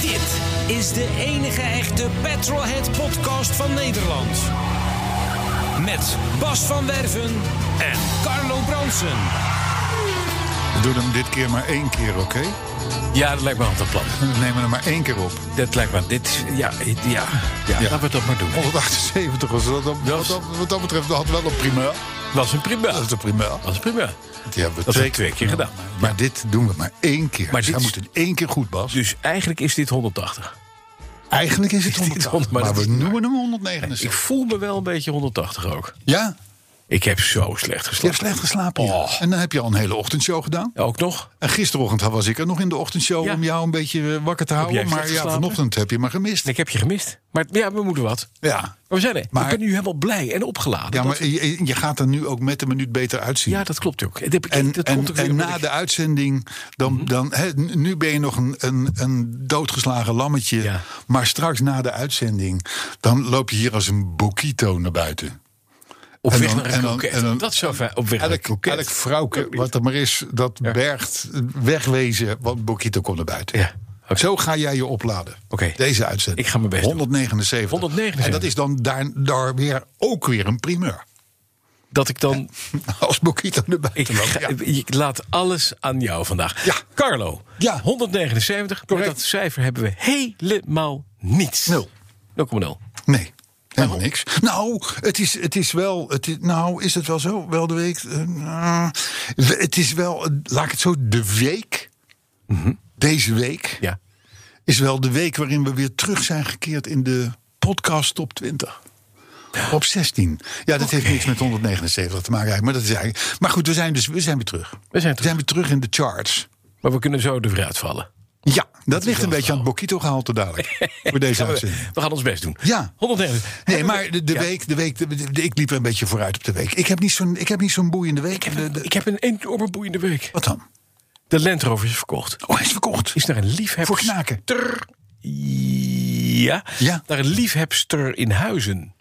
Dit is de enige echte Petrolhead podcast van Nederland. Met Bas van Werven en Carlo Bronsen. We doen hem dit keer maar één keer, oké? Ja, dat lijkt me altijd plan. We nemen hem maar één keer op. Dat lijkt me. Dit, ja, ja, ja, laten we dat maar doen. 178 was dat. Wat Dat dat, is- wat dat betreft, dat had wel een primeur. Was een primeur. Dat is een primeur. Was een primeur. Die hebben we Dat hebben we twee keer gedaan. Maar dit doen we maar één keer. Maar dus dit hij is- moet in één keer goed, Bas. Dus eigenlijk is dit 180. Eigenlijk is het dit is 100, 100, maar, maar dat we is niet noemen hem Ik 179. voel me wel een beetje 180 ook. Ja, Ik heb zo slecht je geslapen. hebt slecht geslapen. ja. Oh. En dan heb je al een hele ochtendshow gedaan. Ook nog? En gisterochtend was ik er nog in de ochtendshow Ja. om jou een beetje eh, wakker te jij houden. slecht Maar ja, geslapen? vanochtend heb je maar gemist. Ik heb je gemist. Maar ja, we moeten wat. Ja, Maar we zijn er. Maar- ik ben nu helemaal blij en opgeladen. ja maar dat, je, je gaat er nu ook met de minuut beter uitzien. ja dat klopt ook. Dat, En, dat en, komt ook weer en omdat na ik- de uitzending, dan, Mhm. dan, hè, nu ben je nog een, een, een doodgeslagen lammetje. Ja. Maar straks na de uitzending, dan loop je hier als een boquito naar buiten. op en weg dan- naar en een dan- kroket. en dan- dat zou fijn. Op weg naar een Elk, kroket. elk vrouwke, wat er maar is, dat bergt wegwezen, want boquito komt naar buiten. Ja. Oké. Zo ga jij je opladen. Oké. Deze uitzending. Ik ga mijn best doen. 179. 179. En dat is dan daar, daar weer ook weer een primeur. Dat ik dan Als boquito naar Ik, buiten loopt. ga- ja. ik laat alles aan jou vandaag. Ja. Carlo, Ja. 179. Correct. Met dat cijfer hebben we helemaal niets. Nul. 0,0. Nee. Helemaal niks. Nou, het is, het is wel. Het is, nou, is het wel zo? Wel de week. eh, nou, we- het is wel. eh, Laat ik het zo. De week. Deze week. Mhm. Ja. Is wel de week waarin we weer terug zijn gekeerd in de podcast top 20. Op 16. Ja, dat heeft niks met 179 te maken. eigenlijk, Maar, dat is eigenlijk, maar goed, we zijn, dus, we zijn weer terug. We zijn terug. weer terug in de charts. Maar we kunnen zo ervoor uitvallen. Ja, dat, ligt een beetje aan het Bokito gehalte dadelijk. voor deze Gaan uitzending. We, we gaan ons best doen. Ja. 179. Nee, Hebben maar we- de, de Ja. week, de week de, de- ik liep er een beetje vooruit op de week. Ik heb niet zo'n, ik heb niet zo'n boeiende week. Ik heb, De- een, de- ik heb een enorm boeiende week. wat dan? De Land Rover is verkocht. Oh, hij is verkocht. Is naar een liefhebster... Voor knaken. Ja. Ja. Naar een liefhebster in Huizen.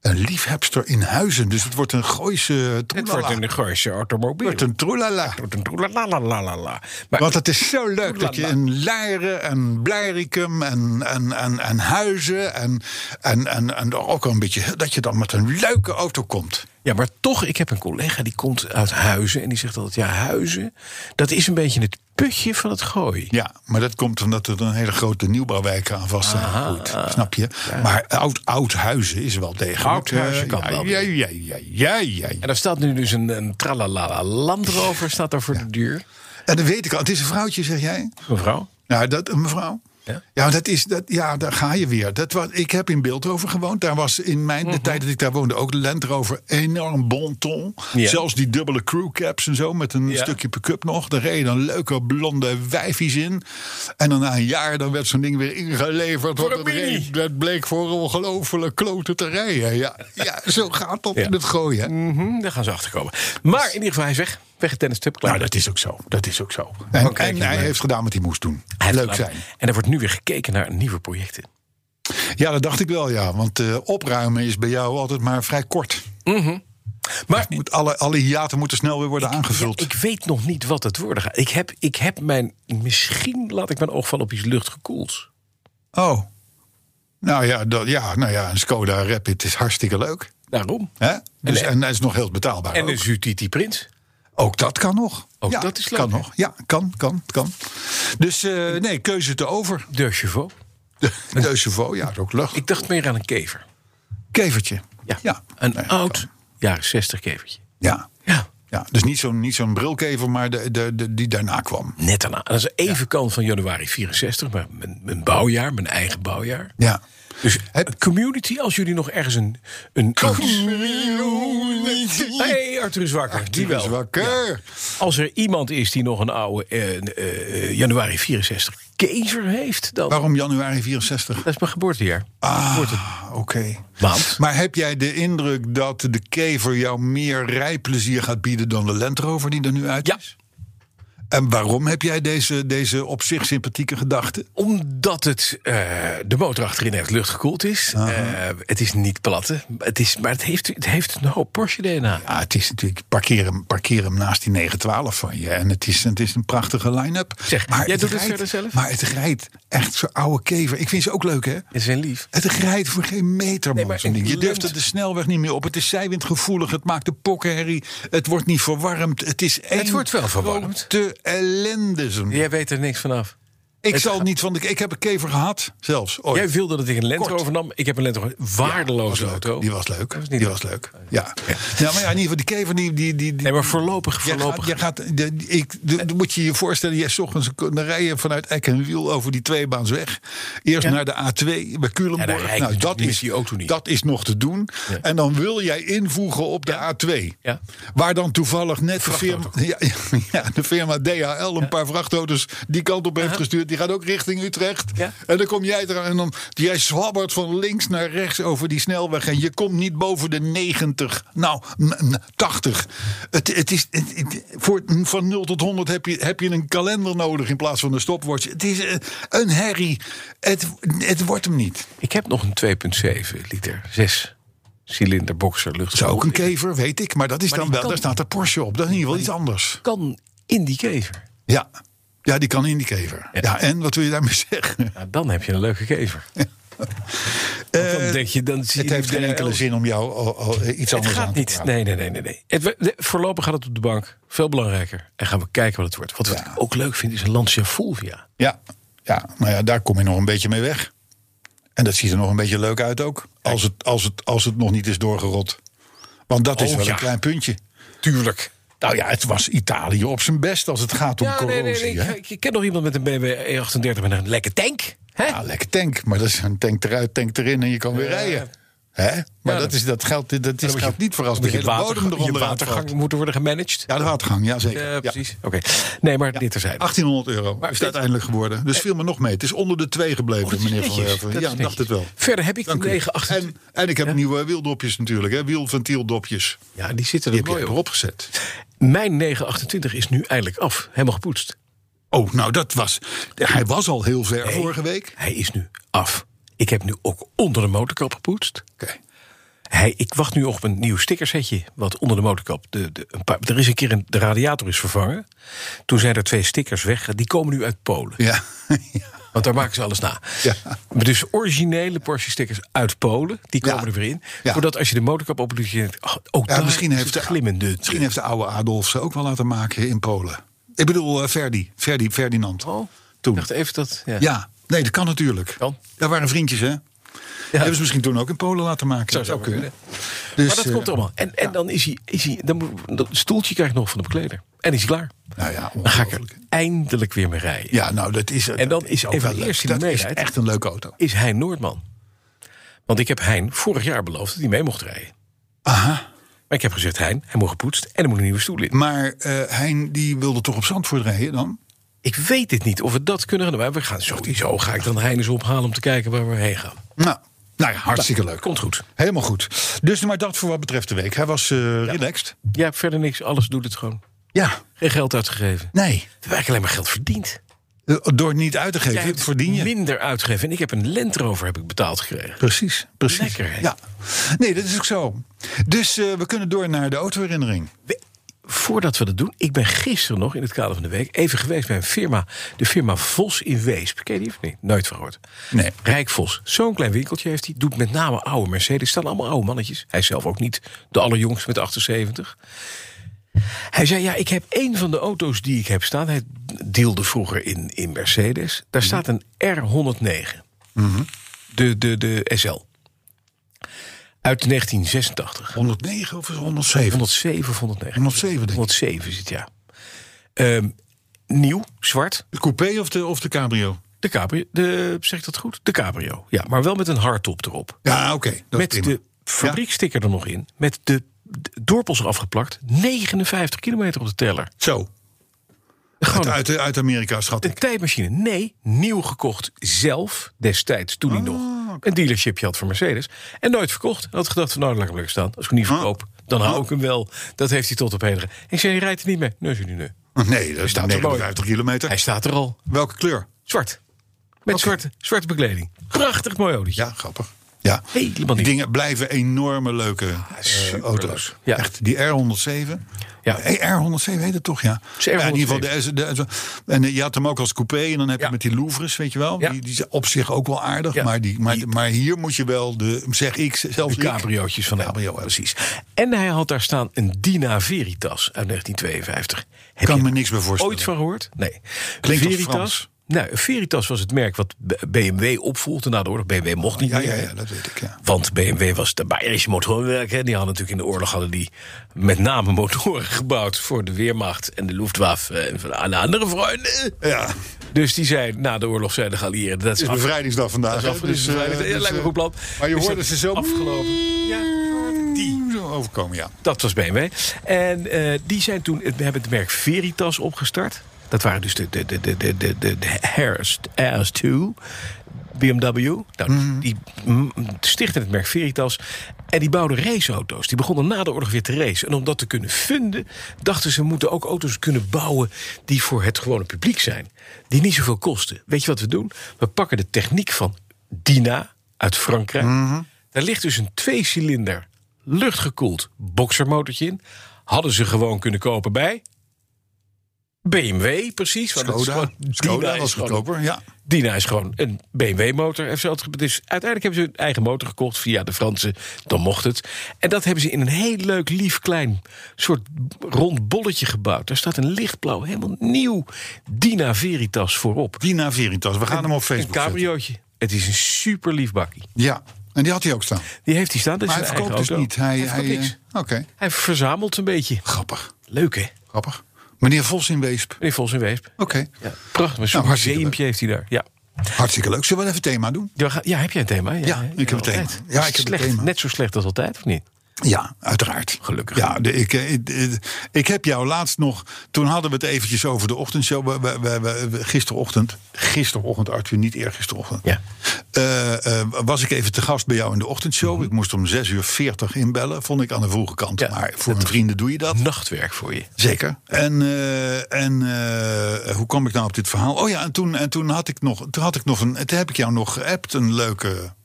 Een liefhebster in huizen. Dus het wordt een gooise Het troelala. wordt een Gooise automobiel. wordt een troelala. Wordt een troelalalalala. Maar Want het is zo leuk dat je in Laren en Blarikum en, en, en, en Huizen en, en, en, en ook al een beetje dat je dan met een leuke auto komt. Ja, maar toch, ik heb een collega die komt uit Huizen. En die zegt altijd, ja, Huizen, dat is een beetje het putje van het gooi. Ja, maar dat komt omdat er een hele grote nieuwbouwwijk aan vast zijn gegroeid. Snap je? Maar oud, oud huizen is wel degelijk. Oud Huizen eh, kan ja, wel. Ja, ja, ja, ja, ja, ja. En daar staat nu dus een, een tralala Land Rover staat daar voor de duur. En dat weet ik al. Het is een vrouwtje, zeg jij? Mevrouw? Nou, dat een mevrouw. Ja, Ja. dat is, dat, ja, daar ga je weer. Dat was, ik heb in Beeldhoven gewoond. Daar was in mijn, Mhm. de tijd dat ik daar woonde ook de Land Rover enorm bon ton. Ja. Zelfs die dubbele crewcaps en zo met een Ja. stukje pick-up nog. Daar reden dan leuke blonde wijfies in. En dan na een jaar dan werd zo'n ding weer ingeleverd. Voor want een het mini. reed- Dat bleek voor ongelooflijk klote te rijden. Ja, ja, zo gaat dat Ja. in het gooien. Mhm, daar gaan ze achter komen. Maar in ieder geval, hij is weg. Weg het tennis klaar. Nou, dat is ook zo. Dat is ook zo. En, Oh, kijk, en ja, hij maar- heeft gedaan wat hij moest doen. Hij heeft Leuk gedaan. zijn. En er wordt nu weer gekeken naar nieuwe projecten. Ja, dat dacht ik wel, ja. Want eh, opruimen is bij jou altijd maar vrij kort. Maar Moet alle, alle hiaten moeten snel weer worden aangevuld. Ja, ik weet nog niet wat het worden gaat. Ik heb, ik heb mijn, misschien laat ik mijn oog vallen op iets luchtgekoelds. oh. Nou ja, dat, ja, nou ja, een Skoda Rapid is hartstikke leuk. Daarom. Hè? Dus, En- en hij is nog heel betaalbaar. En ook. een Zutiti Prins. Ook dat kan nog. Ook ja, dat is leuk, Kan hè? nog. Ja, kan, kan, kan. Dus eh, nee, keuze te over. De Chauveau. De Chauveau, ja, dat is ook lucht. Ik dacht meer aan een kever. Kevertje. Ja. ja. Een Nee, dat oud kan. jaren 60 kevertje. Ja. Ja. Ja, dus niet zo'n niet zo'n brilkever, maar de, de, de, die daarna kwam. Net daarna. Dat is even kant van januari 64, maar mijn, mijn bouwjaar, mijn eigen bouwjaar. Ja. Dus Heb- community, als jullie nog ergens een. een, een hey, Arthur is wakker. die wel. Is wakker. Als er iemand is die nog een oude eh, eh, januari 64 kezer heeft, dan. Waarom januari 64? Dat is mijn geboortejaar. Nou. Ah, oké. Maand. Maar heb jij de indruk dat de kever jou meer rijplezier gaat bieden dan de Land Rover die er nu uit Ja. is? En waarom heb jij deze, deze op zich sympathieke gedachte? Omdat het, eh, de motor achterin echt luchtgekoeld is. Eh, het is niet platte. Het is, maar het heeft, het heeft een hoop Porsche DNA. Ja, het is natuurlijk, parkeer hem, parkeer hem naast die 912 van je. En het is, het is een prachtige line-up. Zeg, jij doet het verder zelf? Maar het rijdt echt zo'n oude kever. Ik vind ze ook leuk, hè? En ze zijn lief. Het rijdt voor geen meter, man. maar zo'n ding. je een durft lint- er de snelweg niet meer op. Het is zijwindgevoelig, het maakt de pokkenherrie. Het wordt niet verwarmd. Het is één Het wordt wel verwarmd. grote ellende. zo'n- Jij weet er niks vanaf. Ik het zal gaat- niet van de... Ik heb een kever gehad, zelfs. ooit. Jij wilde dat ik een Land Kort. Rover nam. Ik heb een Land Rover. Waardeloze auto. Die was leuk. was niet die leuk. was leuk. Ja. ja, maar ja, in ieder geval, die kever... Die, die, die, die- Nee, maar voorlopig, Jij voorlopig. gaat, jij gaat, de- die- ik, de- de- moet je je voorstellen, jij 's ochtends dan rij je vanuit Eck en Wiel over die tweebaansweg. Eerst naar de A2 bij Ja, daar Culemborg. rijd ik nou, natuurlijk dat, niet, is, zie je ook toen niet. dat is nog te doen. En dan wil jij invoegen op de A2. Ja. Waar dan toevallig net de firma, Vrachtauto. ja, ja, ja, de firma DHL een paar vrachtauto's die kant op heeft gestuurd. Die gaat ook richting Utrecht. Uh-huh. Ja. En dan kom jij eraan en dan, jij zwabbert van links naar rechts over die snelweg. En je komt niet boven de 90, nou m- m- 80. Het, het is, het- het- voor, van 0 tot 100 heb je, heb je een kalender nodig in plaats van een stopwatch. Het is eh, een herrie. Het, het wordt hem niet. Ik heb nog een 2,7 liter. 6 cilinder boxer lucht. Het is ook een kever, weet ik. Maar dat is Maar dan die wel, kan- daar staat de Porsche op. Dat is in ieder geval iets anders. kan in die kever. Ja. Ja, die kan in die kever. Ja. en wat wil je daarmee zeggen? Nou, dan heb je een leuke kever. Want dan denk je, dan zie Eh, het je heeft de geen enkele DHL. zin om jou al- al iets anders Het aan gaat te niet. praten. Nee, nee, nee, nee. nee. Het, we- de- voorlopig gaat het op de bank. Veel belangrijker. En gaan we kijken wat het wordt. Wat, wat Ja. ik ook leuk vind is een Lancia Fulvia. Ja. ja, nou ja, daar kom je nog een beetje mee weg. En dat ziet er nog een beetje leuk uit ook. Als het, als het, als het nog niet is doorgerot. Want dat is Oh, wel ja. een klein puntje. Tuurlijk. Nou ja, het was Italië op zijn best als het gaat om Ja, nee, corrosie. nee, nee. hè? Ik, ik ken nog iemand met een BMW E38 met een lekke tank. Hè? Ja, lekker tank. Maar dat is een tank eruit, tank erin en je kan weer Ja. rijden. Hè? Maar Ja, dat, is, dat geldt, dat is, moet geldt je- niet voor als de Moet je hele waterga- bodem je eronder watergang uitvalt. moeten worden gemanaged. Ja, de watergang, ja zeker. Eh, Ja. precies. Oké. Nee, maar dit terzijde. 1800 euro is steeds- het uiteindelijk geworden. Dus viel me nog mee. Het is onder de twee gebleven, Eh, Oh, dat is meneer Van netjes. Werven. Dat Ja, is ik netjes. dacht het wel. Verder heb ik de Dank u. 928. En, en ik heb nieuwe wieldopjes natuurlijk. Hè. Wielventieldopjes. Ja, die zitten Die heb er je mooi op. erop gezet. Mijn 928 is nu eindelijk af. Helemaal gepoetst. Oh, nou dat was... Hij was al heel ver vorige week. Hij is nu af. Ik heb nu ook onder de motorkap gepoetst. Oké. Hij, ik wacht nu op een nieuw stickersetje. Wat onder de motorkap. De, de, een paar, er is een keer een, de radiator is vervangen. Toen zijn er twee stickers weg. Die komen nu uit Polen. Ja. Want daar maken ze alles na. Ja. Dus originele Porsche stickers uit Polen. Die komen Ja. er weer in. Ja. Voordat als je de motorkap op doet. Je denkt, oh, ook ja daar misschien, is heeft het de, glimmende. misschien heeft de oude Adolf ze ook wel laten maken in Polen. Ik bedoel eh, Verdi. Verdi, Ferdinand. Oh, Toen. Ik dacht even dat... Ja. Ja, nee, dat kan natuurlijk. Kan. Daar waren vriendjes, hè? Hebben ze misschien toen ook in Polen laten maken. Zou- zou kunnen. Dus, maar dat eh, komt allemaal. En, en dan is hij... Is hij dan moet, dat stoeltje krijg ik nog van de bekleder. En is hij klaar. Nou ja, Dan ga ik er ongelooflijk. eindelijk weer mee rijden. Ja, nou, dat is En dan is ook even wel de leuk. eerste die Dat is meerijdt. echt een leuke auto. Is Hein Noordman. Want ik heb Hein vorig jaar beloofd dat hij mee mocht rijden. Aha. Maar ik heb gezegd, Hein, hij moet gepoetst en er moet een nieuwe stoel in. Maar eh Hein die wilde toch op Zandvoort rijden dan? Ik weet het niet of we dat kunnen gaan doen. Maar we gaan sowieso, ga ik dan Hein eens ophalen om te kijken waar we heen gaan. Nou, nou ja, hartstikke leuk. Komt goed. Helemaal goed. Dus maar dat voor wat betreft de week. Hij was eh, relaxed. Ja, verder niks. Alles doet het gewoon. Ja, Geen geld uitgegeven. nee. We hebben eigenlijk alleen maar geld verdiend. Eh, Door het niet uit te geven, Jij hebt verdien je. minder uitgegeven. En ik heb een Land Rover heb ik betaald gekregen. Precies, precies. Lekker, hè? Ja. Nee, dat is ook zo. Dus eh, we kunnen door naar de autoherinnering. We- Voordat we dat doen, ik ben gisteren nog in het kader van de week even geweest bij een firma, de firma Vos in Weesp. Ken je die of niet? Nooit van gehoord. Nee. Rijk Vos, zo'n klein winkeltje heeft hij. Doet met name oude Mercedes. Staan allemaal oude mannetjes. Hij is zelf ook niet de allerjongste met 78. Hij zei: Ja, ik heb één van de auto's die ik heb staan. Hij deelde vroeger in, in Mercedes. Daar staat een R109. De, de, de SL. Uit 1986. 109 of 107? 107 of 109? 107, denk ik. 107 zit, ja. Ehm, nieuw, zwart. De coupé of de, of de cabrio? De cabrio, de, zeg ik dat goed? De cabrio, ja. Maar wel met een hardtop erop. Ja, oké. dat met is prima. de fabrieksticker er nog in. Met de de dorpels afgeplakt. 59 kilometer op de teller. Zo. Gewoon Uit, uit, uit Amerika, schat een ik. tijdmachine. Nee, nieuw gekocht zelf destijds, toen Ah, hij nog een dealershipje had voor Mercedes. En nooit verkocht. Had gedacht van nou, laat ik hem lekker staan. Als ik hem niet Ah. verkoop, dan hou ik hem wel. Dat heeft hij tot op heden. ge- Ik zei, je rijdt er niet mee. Nee, zei hij, nee. Nee, dat is staat er 59 kilometer. Hij staat er al. Welke kleur? Zwart. Met zwarte, zwarte bekleding. Prachtig mooi autootje. Ja, grappig. Ja. Helemaal Die niet. dingen blijven enorme leuke eh, superleuk. auto's. Ja. Echt, die R107. Ja. Eh, R107 heet het toch, ja. is Ja, in ieder geval. R107. De, de- de- en eh, je had hem ook als coupé. En dan heb je Ja. met die Louvres, weet je wel. Ja. Die, die zijn op zich ook wel aardig. Ja. Maar, die, maar, maar hier moet je wel de, zeg ik, zelfs De cabriootjes van hem. Cabrio, ja, precies. En hij had daar staan een Dina Veritas uit 1952. Heb Kan je me er niks meer voorstellen. Ooit van gehoord? Nee. Klinkt als Veritas. Frans. Nou, Veritas was het merk wat B- BMW opvolgde na de oorlog. BMW mocht niet Ja, meer. ja, ja, dat weet ik, ja. Want BMW was de Bayerische motorwerk. hè. Die hadden natuurlijk in de oorlog hadden die met name motoren gebouwd voor de Weermacht en de Luftwaffe en voor alle andere vrienden. Ja, Dus die zijn na de oorlog zeiden de geallieerden dat is, het is af- bevrijdingsdag vandaag. dat is hè, af- dus, eh, bevrijding. Ja, dus, lijkt me een goed plan. Maar je Dus hoorde dat ze is zo afgelopen. Ja, die. zo overkomen, ja. Dat was BMW. En eh, die zijn toen, we hebben het merk Veritas opgestart. Dat waren dus de, de, de, de, de, de, de, de Harris RS2 BMW. Nou, Mhm. Die mm, stichtten het merk Veritas. En die bouwden raceauto's. Die begonnen na de oorlog weer te racen. En om dat te kunnen vinden, dachten ze moeten ook auto's kunnen bouwen die voor het gewone publiek zijn. Die niet zoveel kosten. Weet je wat we doen? We pakken de techniek van Dina uit Frankrijk. Mhm. Daar ligt dus een tweecilinder luchtgekoeld boxermotortje in. Hadden ze gewoon kunnen kopen bij BMW, precies. want het is Skoda, gewoon- Dina Skoda is was gewoon- goedkoper, ja. Dina is gewoon een BMW-motor. heeft ze altijd ge- Dus uiteindelijk hebben ze hun eigen motor gekocht via de Fransen. Dan mocht het. En dat hebben ze in een heel leuk, lief, klein soort rond bolletje gebouwd. Daar staat een lichtblauw, helemaal nieuw Dina Veritas voorop. Dina Veritas, we gaan hem op Een Facebook zetten. cabriootje. Het is een super lief bakkie. Ja, en die had hij ook staan. Die heeft hij staan. Dat is Maar hij zijn verkoopt dus eigen niet. auto. Hij, hij, verkoopt niks. eh, Oké, Hij verzamelt een beetje. grappig, Leuk, hè? grappig. Meneer Vos in Weesp. Oké, Meneer Vos en Weesp. Prachtig, een soort Nou, hartstikke museumpje heeft hij daar. Ja. hartstikke leuk. Zullen we even thema doen? Ja, ga- ja, heb jij een thema? Ja, Ja, ik heb een thema. altijd. Ja, ik heb een slecht, thema. Net zo slecht als altijd, of niet? Ja, uiteraard. Gelukkig. Ja, de, ik, eh, ik, eh, ik heb jou laatst nog. Toen hadden we het eventjes over de ochtendshow. We, we, we- we- we- gisterochtend. Gisterochtend, Arthur, niet eergisterochtend. Ja. Eh, eh, was ik even te gast bij jou in de ochtendshow. Ik moest om 6 uur 40 inbellen. Vond ik aan de vroege kant. Ja, maar voor mijn vrienden doe je dat. Nachtwerk voor je. Mhm. Zeker. En, eh, en eh, hoe kwam ik nou op dit verhaal? Oh ja, en toen, en toen had ik nog, toen had ik nog een, toen heb ik jou nog geappt een leuke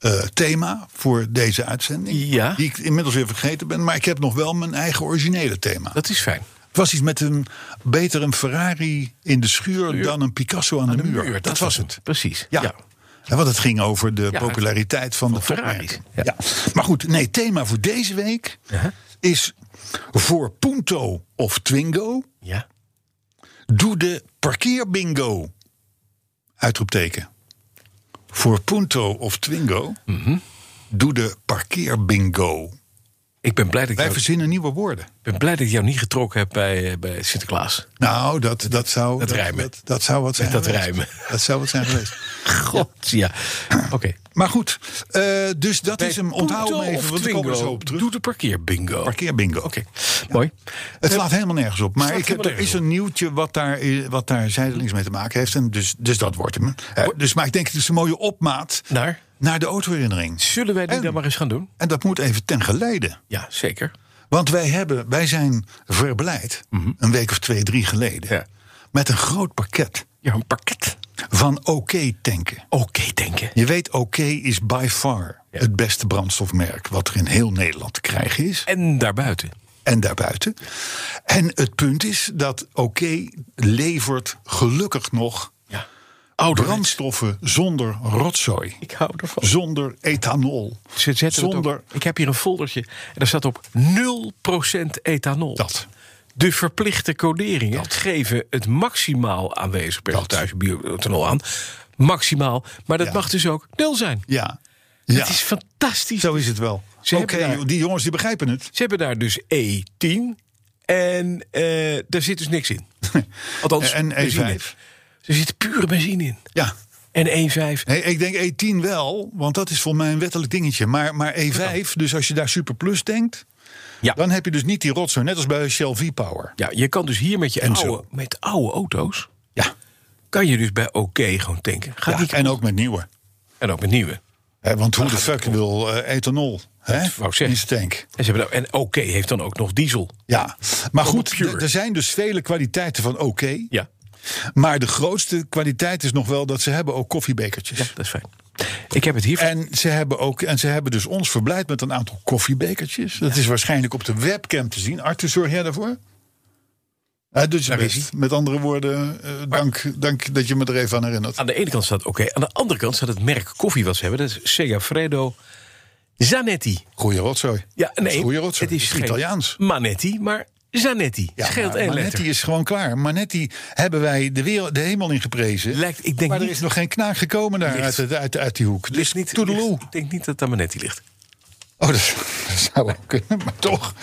eh, thema voor deze uitzending. Ja. Die ik inmiddels weer vergeten ben, maar ik heb nog wel mijn eigen originele thema. Dat is fijn. Het was iets met een beter een Ferrari in de schuur dan een Picasso aan, de, muur. Dat, was het. Precies. Ja. Ja, Want het ging over de Ja, populariteit van, de van Ferrari. Ferraris, Ja. Maar goed, nee, thema voor deze week Ja. is voor Punto of Twingo. Ja. Doe de parkeerbingo. Uitroepteken. Voor Punto of Twingo. Mhm. Doe de parkeerbingo. Ik ben blij, dat ik, Wij jou, verzinnen nieuwe woorden. ik ben blij dat ik jou niet getrokken heb bij, eh, bij Sinterklaas. Nou, dat, dat zou. dat rijmen. Dat, dat zou wat zijn. dat geweest. rijmen. Dat zou wat zijn geweest. God, ja. Oké. Maar goed, eh, dus dat is hem. Onthoud hem Punto even, of want we komen er Twingo? zo op terug. Doe de parkeerbingo. Parkeerbingo. Oké, mooi. Het slaat helemaal nergens op. Maar slaat ik heb, helemaal er is nergens een nieuwtje wat daar, eh, wat daar zijdelings mee te maken heeft. En dus, dus dat wordt hem. Eh, dus, maar ik denk, het is een mooie opmaat Naar? naar de autoherinnering. Zullen wij die En- dan maar eens gaan doen? En dat moet even ten geleide. Ja, zeker. Want wij, hebben, wij zijn verblijd, een week of twee, drie geleden... Mhm. Ja. met een groot pakket Ja, een pakket. van OK-tanken. Oké, denken. Je weet, OK is by far het beste brandstofmerk... wat er in heel Nederland te krijgen is. En daarbuiten. en daarbuiten. En het punt is dat oké levert gelukkig nog Ja. Oude brandstoffen zonder rotzooi. Ik hou ervan. Zonder ethanol. Ze zetten het zonder ook- ik heb hier een foldertje en daar staat op 0% ethanol. Dat. De verplichte coderingen geven het maximaal aanwezig percentage bioethanol aan. Maximaal. Maar dat Ja. mag dus ook nul zijn. Ja. ja. Het is fantastisch. Zo is het wel. Ze Oké, hebben daar- die jongens die begrijpen het. Ze hebben daar dus E10 en eh, daar zit dus niks in. Althans, En E benzine. E5. Er zit pure benzine in. Ja. En E 1,5. Nee, ik denk E10 wel, want dat is voor mij een wettelijk dingetje. Maar, maar E5, dus als je daar Super Plus denkt, Ja. dan heb je dus niet die rotzooi. Net als bij Shell V-Power. Ja, je kan dus hier met je En zo. oude, met oude auto's... Ja. kan je dus bij oké gewoon tanken. Gaat ja niet en ook met nieuwe. en ook met nieuwe. Hè, want hoe de fuck wil eh, ethanol hè, wou ik in zeggen. zijn tank? En, ze hebben nou- en oké heeft dan ook nog diesel. Ja, Allemaal maar goed, pure. d- er zijn dus vele kwaliteiten van oké. Ja, Maar de grootste kwaliteit is nog wel dat ze hebben ook koffiebekertjes. ja dat is fijn. Ik heb het hier... En ze, hebben ook, en ze hebben dus ons verblijd met een aantal koffiebekertjes. Dat is waarschijnlijk op de webcam te zien. Arthur, zorg jij daarvoor? Hij doet je Daar is best. Met andere woorden, eh, dank, dank dat je me er even aan herinnert. Aan de ene kant staat oké. Aan de andere kant staat het merk koffie wat ze hebben. Dat is Segafredo Zanetti. Goeie rotzooi. Ja, Dat is nee, Goeie rotzooi. het is geen Italiaans. Manetti, maar Zanetti. Ja, Scheelt maar één Manetti letter. is gewoon klaar. Manetti hebben wij de, wereld, de hemel in geprezen. Lijkt, ik denk maar er niet, is nog geen knaak gekomen daar Ligt. uit, uit, uit, uit die hoek. Dus ligt niet, niet, toedeloe. ligt- ik denk niet dat daar Manetti ligt. Oh, dat, dat zou wel kunnen, maar toch.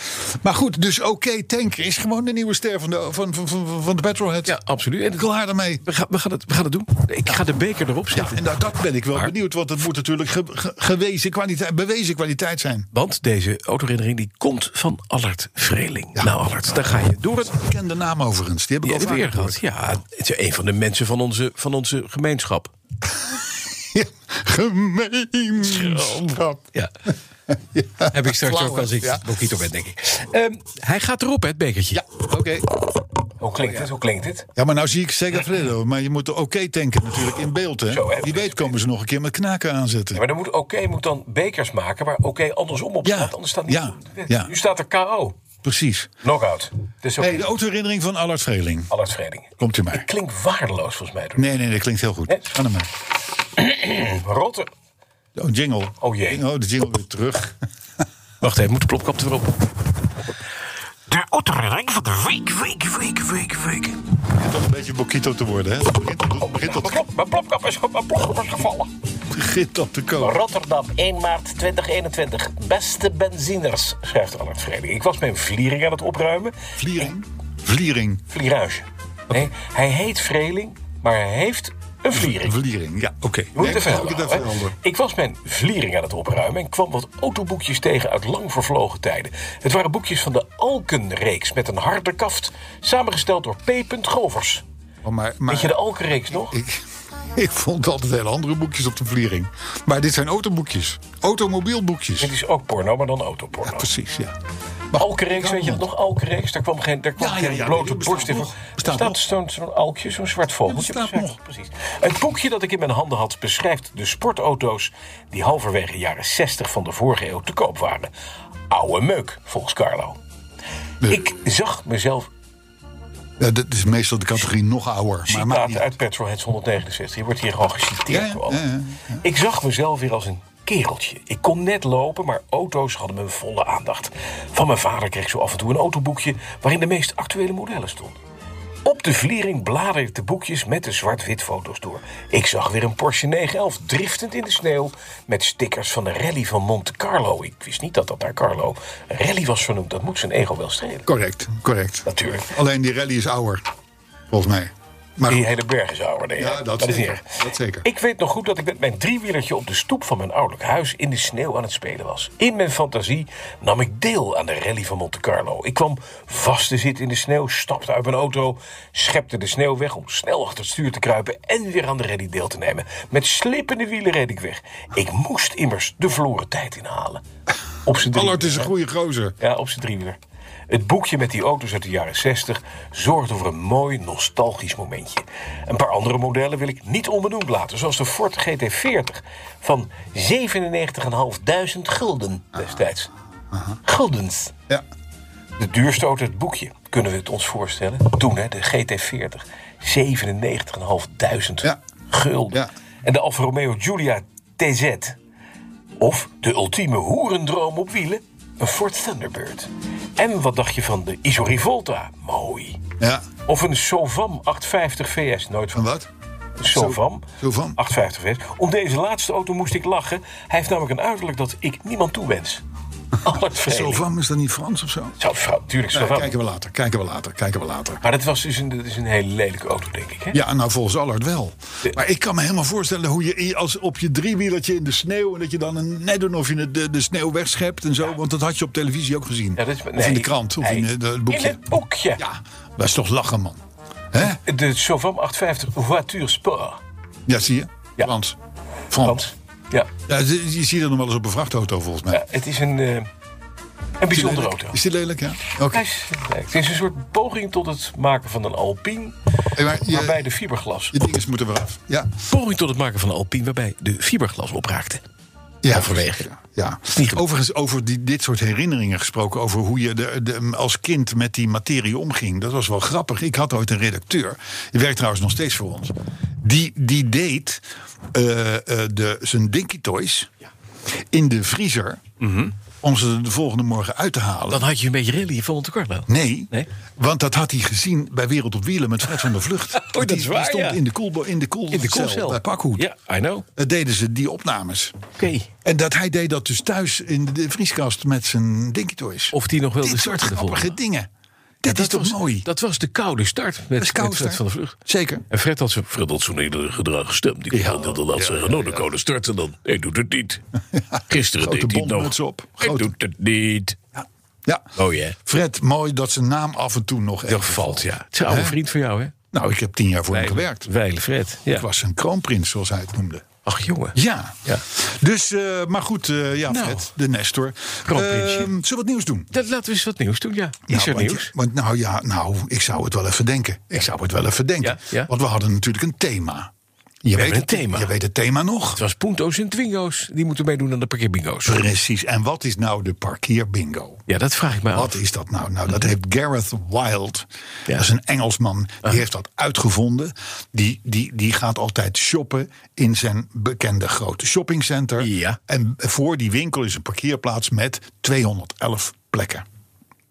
Maar goed, dus oké, tanken is gewoon de nieuwe ster van de, van, van, van, van de Petrolhead. Ja, absoluut. En het- Klaar daarmee. we, gaan, we, gaan het, we gaan het doen. Ik ga de beker erop Ja, zetten. en dat, dat ben ik wel Maar- benieuwd, want het moet natuurlijk ge- ge- gewezen kwaliteit, bewezen kwaliteit zijn. Want deze autoherinnering die komt van Allard Vreeling. Nou Allard, daar ga je door het Ik ken de naam overigens, die heb ik die al heb ik vaker weer gehad. Ja, gehoord. het is een van de mensen van onze, van onze gemeenschap. Ja, Gemeenschap. Ja. Heb ik straks flauw, ook als ik ja. Bokito ben, denk ik. Ehm, hij gaat erop, hè, het bekertje. Ja, oké. Hoe oh, klinkt het? Hoe klinkt het? Ja, maar nou zie ik Segafredo, maar je moet de oké tanken natuurlijk in beeld, hè. Zo, hè. Die weet komen ze nog een keer met knaken aanzetten. Ja, maar dan moet oké moet dan bekers maken, maar oké andersom op Ja, staat. Anders staat niet. ja, ja. Nu staat er KO. Precies. Knockout. Dus ook Hey, de autoherinnering van Allard Vreeling. Allard Vreeling. Komt u maar. Klinkt waardeloos volgens mij. Door. Nee, nee, dat klinkt heel goed. Nee. Ga dan maar. Rotter. Oh, jingle. Oh, jee. Jingle, Oh, de jingle weer terug. Wacht even, moet de plopkap erop? De autoherinnering van de week, week, week, week, week. Het toch een beetje Bokito te worden, hè? Het begint, het begint, al- Plop, mijn plopkap is, mijn plopkap is gevallen. het begint al te komen. Rotterdam, 1 maart 2021. Beste benziners, schrijft Allard Vredeling. Ik was mijn vliering aan het opruimen. Vliering. Vliering. Vlierage. Nee, hij heet Vreling, maar hij heeft een vliering. Vliering, ja, oké. Je moet Nee, het even ik moet het helder even houden, hè. helder. Ik was mijn vliering aan het opruimen en kwam wat autoboekjes tegen uit lang vervlogen tijden. Het waren boekjes van de Alkenreeks met een harde kaft, samengesteld door P. Govers. Oh, maar, maar Weet je de Alkenreeks nog? ik, ik vond altijd hele andere boekjes op de vliering. Maar dit zijn autoboekjes. Automobielboekjes. Dit is ook porno, maar dan autoporno. Precies, ja. Alkenreeks, weet je dat nog? Alkenreeks, daar kwam geen, daar kwam Ja, ja, geen ja, blote nee, bestaat borst in. nog. voor. Er Bestaat nog. staat zo'n zo'n alkje, zo'n zwart vogeltje. Ja, bestaat nog. Precies. Het boekje dat ik in mijn handen had beschrijft de sportauto's... die halverwege de jaren 60 van de vorige eeuw te koop waren. Oude meuk, volgens Carlo. Ik zag mezelf Ja, dat is meestal de categorie nog ouder. Maar, maar citaat uit Petrolheads 169. Je wordt hier gewoon geciteerd. Ja, ja, door ja, allen. ja, Ik zag mezelf weer als een kereltje. Ik kon net lopen, maar auto's hadden mijn volle aandacht. Van mijn vader kreeg ik zo af en toe een autoboekje... waarin de meest actuele modellen stonden. Op de vliering bladerde ik de boekjes met de zwart-wit foto's door. Ik zag weer een Porsche 911 driftend in de sneeuw... met stickers van de rally van Monte Carlo. Ik wist niet dat dat naar Carlo een rally was vernoemd. Dat moet zijn ego wel strelen. correct, correct. Natuurlijk. Alleen die rally is ouder, volgens mij. Maar Die goed, hele berg is ouder. nee, Ja, dat is zeker. niet erg. Dat zeker. Ik weet nog goed dat ik met mijn driewielertje op de stoep van mijn ouderlijk huis in de sneeuw aan het spelen was. In mijn fantasie nam ik deel aan de rally van Monte Carlo. Ik kwam vast te zitten in de sneeuw, stapte uit mijn auto, schepte de sneeuw weg om snel achter het stuur te kruipen en weer aan de rally deel te nemen. Met slippende wielen reed ik weg. Ik moest immers de verloren tijd inhalen. Op z'n drieën. Allard is een goede gozer. Ja, op zijn driewieler. Het boekje met die auto's uit de jaren 60 zorgde voor een mooi nostalgisch momentje. Een paar andere modellen wil ik niet onbenoemd laten, zoals de Ford GT40 van 97.500 gulden destijds. Guldens. Ja. De duurste auto uit het boekje, kunnen we het ons voorstellen. Toen, hè, de GT40. 97.500 Ja. gulden. Ja. En de Alfa Romeo Giulia TZ. Of de ultieme hoerendroom op wielen, een Ford Thunderbird. En wat dacht je van de Iso Rivolta? Mooi. Ja, Of een Sovam 850 VS, nooit en van. wat? Sovam. Sovam. 850 wees. Om deze laatste auto moest ik lachen. Hij heeft namelijk een uiterlijk dat ik niemand toewens. Allert Zo van, is dat niet Frans of zo? Zo, vrouw, tuurlijk, Nou, Sovam. kijken we later, kijken we later, kijken we later. Maar dat, was dus een, dat is een hele lelijke auto, denk ik. Hè? Ja, nou volgens Allard wel. Maar ik kan me helemaal voorstellen hoe je i- als op je driewielertje in de sneeuw... en dat je dan een, net doen of je het- de, de sneeuw wegschept en zo. Want dat had je op televisie ook gezien. Ja, dat is- of in de nee, krant, of hij- in eh, de- het boekje. In het boekje. Ja, dat is toch lachen, man. Hè? De Sovam 850 Voiture Sport. Ja, zie je? Ja. Frans. Want, Frans. ja, Ja, je, je ziet dat nog wel eens op een vrachtauto, volgens mij. ja, het is een, eh, een Is die bijzondere lelijk? auto. Is die lelijk, ja? Oké. Hij is- nee, Het is een soort poging tot het maken van een Alpine, Hey, maar je, waarbij de fiberglas je dinges moeten weer af. Ja. Poging tot het maken van een Alpine waarbij de fiberglas opraakte. Ja, Halverwege. Ja. ja. niet goed. Overigens, over die, dit soort herinneringen gesproken. Over hoe je de, de, als kind met die materie omging. Dat was wel grappig. Ik had ooit een redacteur. Die werkt trouwens nog steeds voor ons. Die, die deed eh, eh, de, zijn Dinky Toys in de vriezer. Om ze de volgende morgen uit te halen. Dan had je een beetje rally van te kort lopen. Nee, Nee? want dat had hij gezien bij Wereld op Wielen met Fred van der Vlucht. Oh, dat is die, waar, die stond ja. in de koelbo- in de koel- In de cel koelcel. bij Pakhoed. Ja, I know. Oké. Dat deden ze die opnames. En dat hij deed dat dus thuis in de vrieskast met zijn dinkytoys. Of die nog wel de Dit soort start ervoor. grappige dingen. Dit is Dat toch was- mooi? Dat was de koude start met, Dat is met koud, Fred hè? van de Vlucht. Zeker. En Fred had zijn, Fred had zijn hele gedrag gestemd. Ik had dat laat zeggen, nou, de koude start en dan... Hij doet het niet. Gisteren Grote deed hij het bondmuts nog. op. Hij Grote- doet het niet. Ja. ja. Oh ja. Fred, mooi dat zijn naam af en toe nog Dat even valt, ja. Het is een oude Hè? vriend van jou, hè? Nou, ik heb tien jaar voor hem gewerkt. Weile Fred. Ja. Ik was een kroonprins, zoals hij het noemde. Ach, jongen. Ja. Ja. Dus, eh, maar goed, eh, ja, Nou. Fred, de Nestor. Ehm, Kroonprinsje. zullen we wat nieuws doen? Dat, laten we eens wat nieuws doen, ja. Is Nou, er want- nieuws? Want nou ja, nou, ik zou het wel even denken. Ik zou het wel even denken. Ja, ja. Want we hadden natuurlijk een thema. Je weet hebben het, een thema. Je weet het thema nog. Het was Punto's en Twingo's. Die moeten meedoen aan de parkeerbingo's. Precies. En wat is nou de parkeerbingo? Ja, dat vraag ik me Wat af. is dat nou? Nou, dat heeft Gareth Wild. Ja. Ah. Dat is een Engelsman. Die heeft dat uitgevonden. Die, die, die gaat altijd shoppen in zijn bekende grote shoppingcenter. Ja. En voor die winkel is een parkeerplaats met 211 plekken.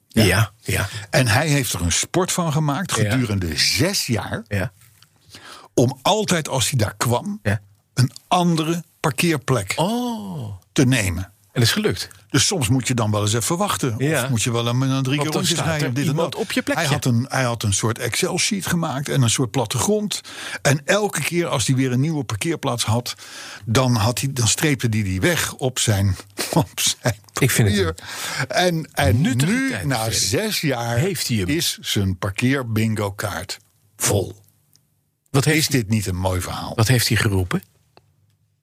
Ja, ja. ja. En hij heeft er een sport van gemaakt gedurende zes jaar. Om altijd als hij daar kwam, Ja. een andere parkeerplek Oh. te nemen. En dat is gelukt. Dus soms moet je dan wel eens even wachten. Ja. Of moet je wel een, een drie Want keer dan rondjes staat rijden. er Dit en iemand dat. op je plekje. Hij had, een, hij had een soort Excel-sheet gemaakt en een soort plattegrond. En elke keer als hij weer een nieuwe parkeerplaats had... dan, had hij, dan streepte hij die weg op zijn, op zijn Ik vind het papier. En, en nuttige nu, tijd, na Freddy. zes jaar, Heeft hij hem. is zijn parkeerbingo-kaart vol. Wat Is heeft, dit niet een mooi verhaal? wat heeft hij geroepen?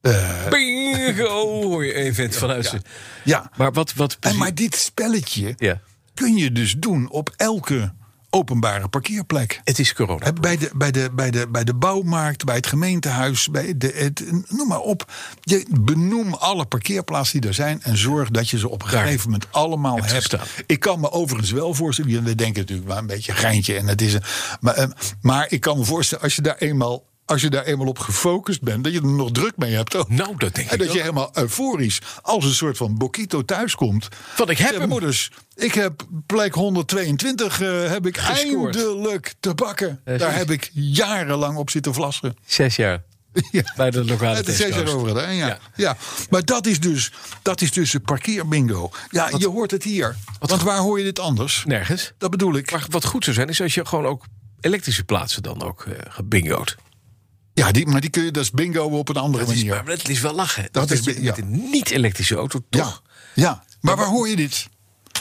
Eh, Bingo! Hoor je een vent vanuit zijn... ja, Maar wat... wat en maar dit spelletje Ja. kun je dus doen op elke openbare parkeerplek. Het is corona. Hè, Bij de, bij, de, bij, de, bij de bouwmarkt, bij het gemeentehuis, bij de, het, noem maar op. Je benoem alle parkeerplaatsen die er zijn en zorg dat je ze op een Daar. gegeven moment allemaal Hebt hebt. gestaan. Ik kan me overigens wel voorstellen, we denken natuurlijk wel een beetje een geintje en het is een, maar, eh, maar ik kan me voorstellen als je daar eenmaal. Als je daar eenmaal op gefocust bent, dat je er nog druk mee hebt. ook. Nou, dat denk En ik dat ook. je helemaal euforisch, als een soort van Bokito thuiskomt. Van, ik heb Zeg, hem. Moeders, ik heb plek 122, eh, heb ik Gescoord. eindelijk te bakken. Eh, Daar zie- heb ik jarenlang op zitten vlassen. Zes jaar. Ja. Bij de lokale Het is Test steeds Coast. erover gedaan, ja. Ja. Ja. Maar dat is dus, dat is dus een parkeerbingo. Ja, je hoort het hier. Want waar hoor je dit anders? Nergens. Dat bedoel ik. Maar wat goed zou zijn, is als je gewoon ook elektrische plaatsen dan ook eh gebingoot. Ja, die, maar die kun je, dat is bingo op een andere Dat is, manier. maar dat is wel lachen. Dat, is- ja. je met een niet-elektrische auto Ja, toch ja, maar waar hoor je dit?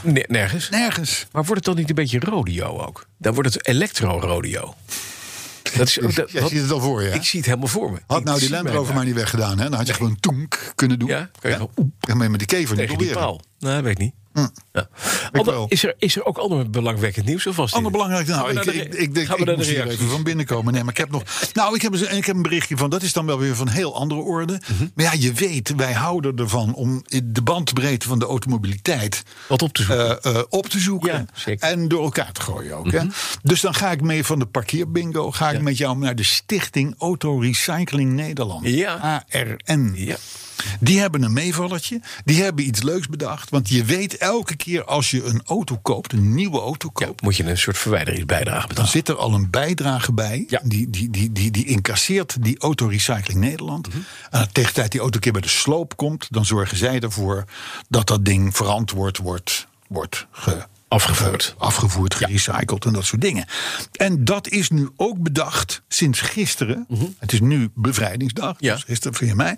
ne- nergens. Nergens. Maar wordt het dan niet een beetje rodeo ook? Dan wordt het elektro-rodeo. Dat is, ook- dat, Jij wat- ziet het al voor je. hè? Ik zie het helemaal voor me. Had Ik nou die zie Land mij Rover daar. maar niet weggedaan, hè? Dan had je gewoon toenk kunnen doen. Ja, kan je gewoon En met die kever niet tegen die proberen. paal. Nou, dat weet ik niet. Ja. Ander- Hm. wel. is, er, is er ook ander belangwekkend nieuws? Of was dit Ander het? belangrijk, Gaan nou, we ik, naar de- ik, ik denk, gaan we naar ik de moest hier reacties? even van binnenkomen. Nee, maar ik heb nog, nou, ik heb, eens- ik heb een berichtje van, dat is dan wel weer van heel andere orde. Mhm. Maar ja, je weet, wij houden ervan om de bandbreedte van de automobiliteit Wat op te zoeken. eh, eh, op te zoeken. Ja, zeker. Mhm. en door elkaar te gooien ook. hè? Dus dan ga ik mee van de parkeerbingo, ga ik met jou naar de Stichting Auto Recycling Nederland. Ja. ARN. Ja. Die hebben een meevallertje. Die hebben iets leuks bedacht. Want je weet elke keer als je een auto koopt, een nieuwe auto koopt. Moet je een soort verwijderingsbijdrage Dan betalen. zit er al een bijdrage bij. Ja. Die, die, die, die, die incasseert die Autorecycling Nederland. Mhm. En tegen de tijd die auto een keer bij de sloop komt, dan zorgen zij ervoor dat dat ding verantwoord wordt, wordt ge- Afgevoerd. ge- afgevoerd, gerecycled en dat soort dingen. En dat is nu ook bedacht sinds gisteren. Het is nu bevrijdingsdag, Mhm. Ja. dus gisteren voor mij.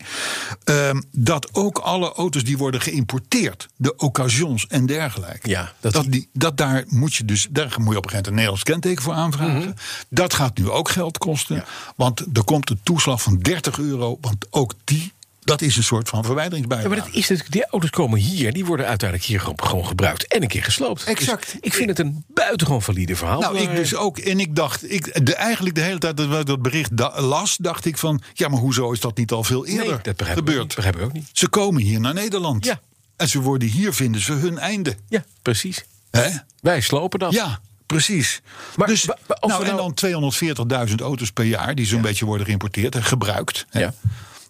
Ehm, dat ook alle auto's die worden geïmporteerd, de occasions en dergelijke. Ja, dat dat, die- die, dat daar moet je dus, daar moet je op een gegeven moment een Nederlands kenteken voor aanvragen. Mhm. Dat gaat nu ook geld kosten. Want er komt een toeslag van 30 euro. Want ook die, dat is een soort van Ja, verwijderingsbijdrage. maar dat is natuurlijk, die auto's komen hier, die worden uiteindelijk hier gewoon- gewoon gebruikt en een keer gesloopt. Exact. Dus ik vind het een buitengewoon valide verhaal. Nou, ik maar- dus ook. En ik dacht, ik, de, eigenlijk de hele tijd dat ik dat bericht da- las, dacht ik van... ja, maar hoezo is dat niet al veel nee, eerder dat begrijp ik, ook niet, gebeurd? begrijp ik ook niet. Ze komen hier naar Nederland. Ja. En ze worden hier, vinden ze hun einde. Ja, precies. Hè? Wij slopen dat. Ja, precies. Maar dus, wa- wa- als nou, we en dan 240.000 auto's per jaar... die zo'n beetje worden geïmporteerd en gebruikt. hè. Ja.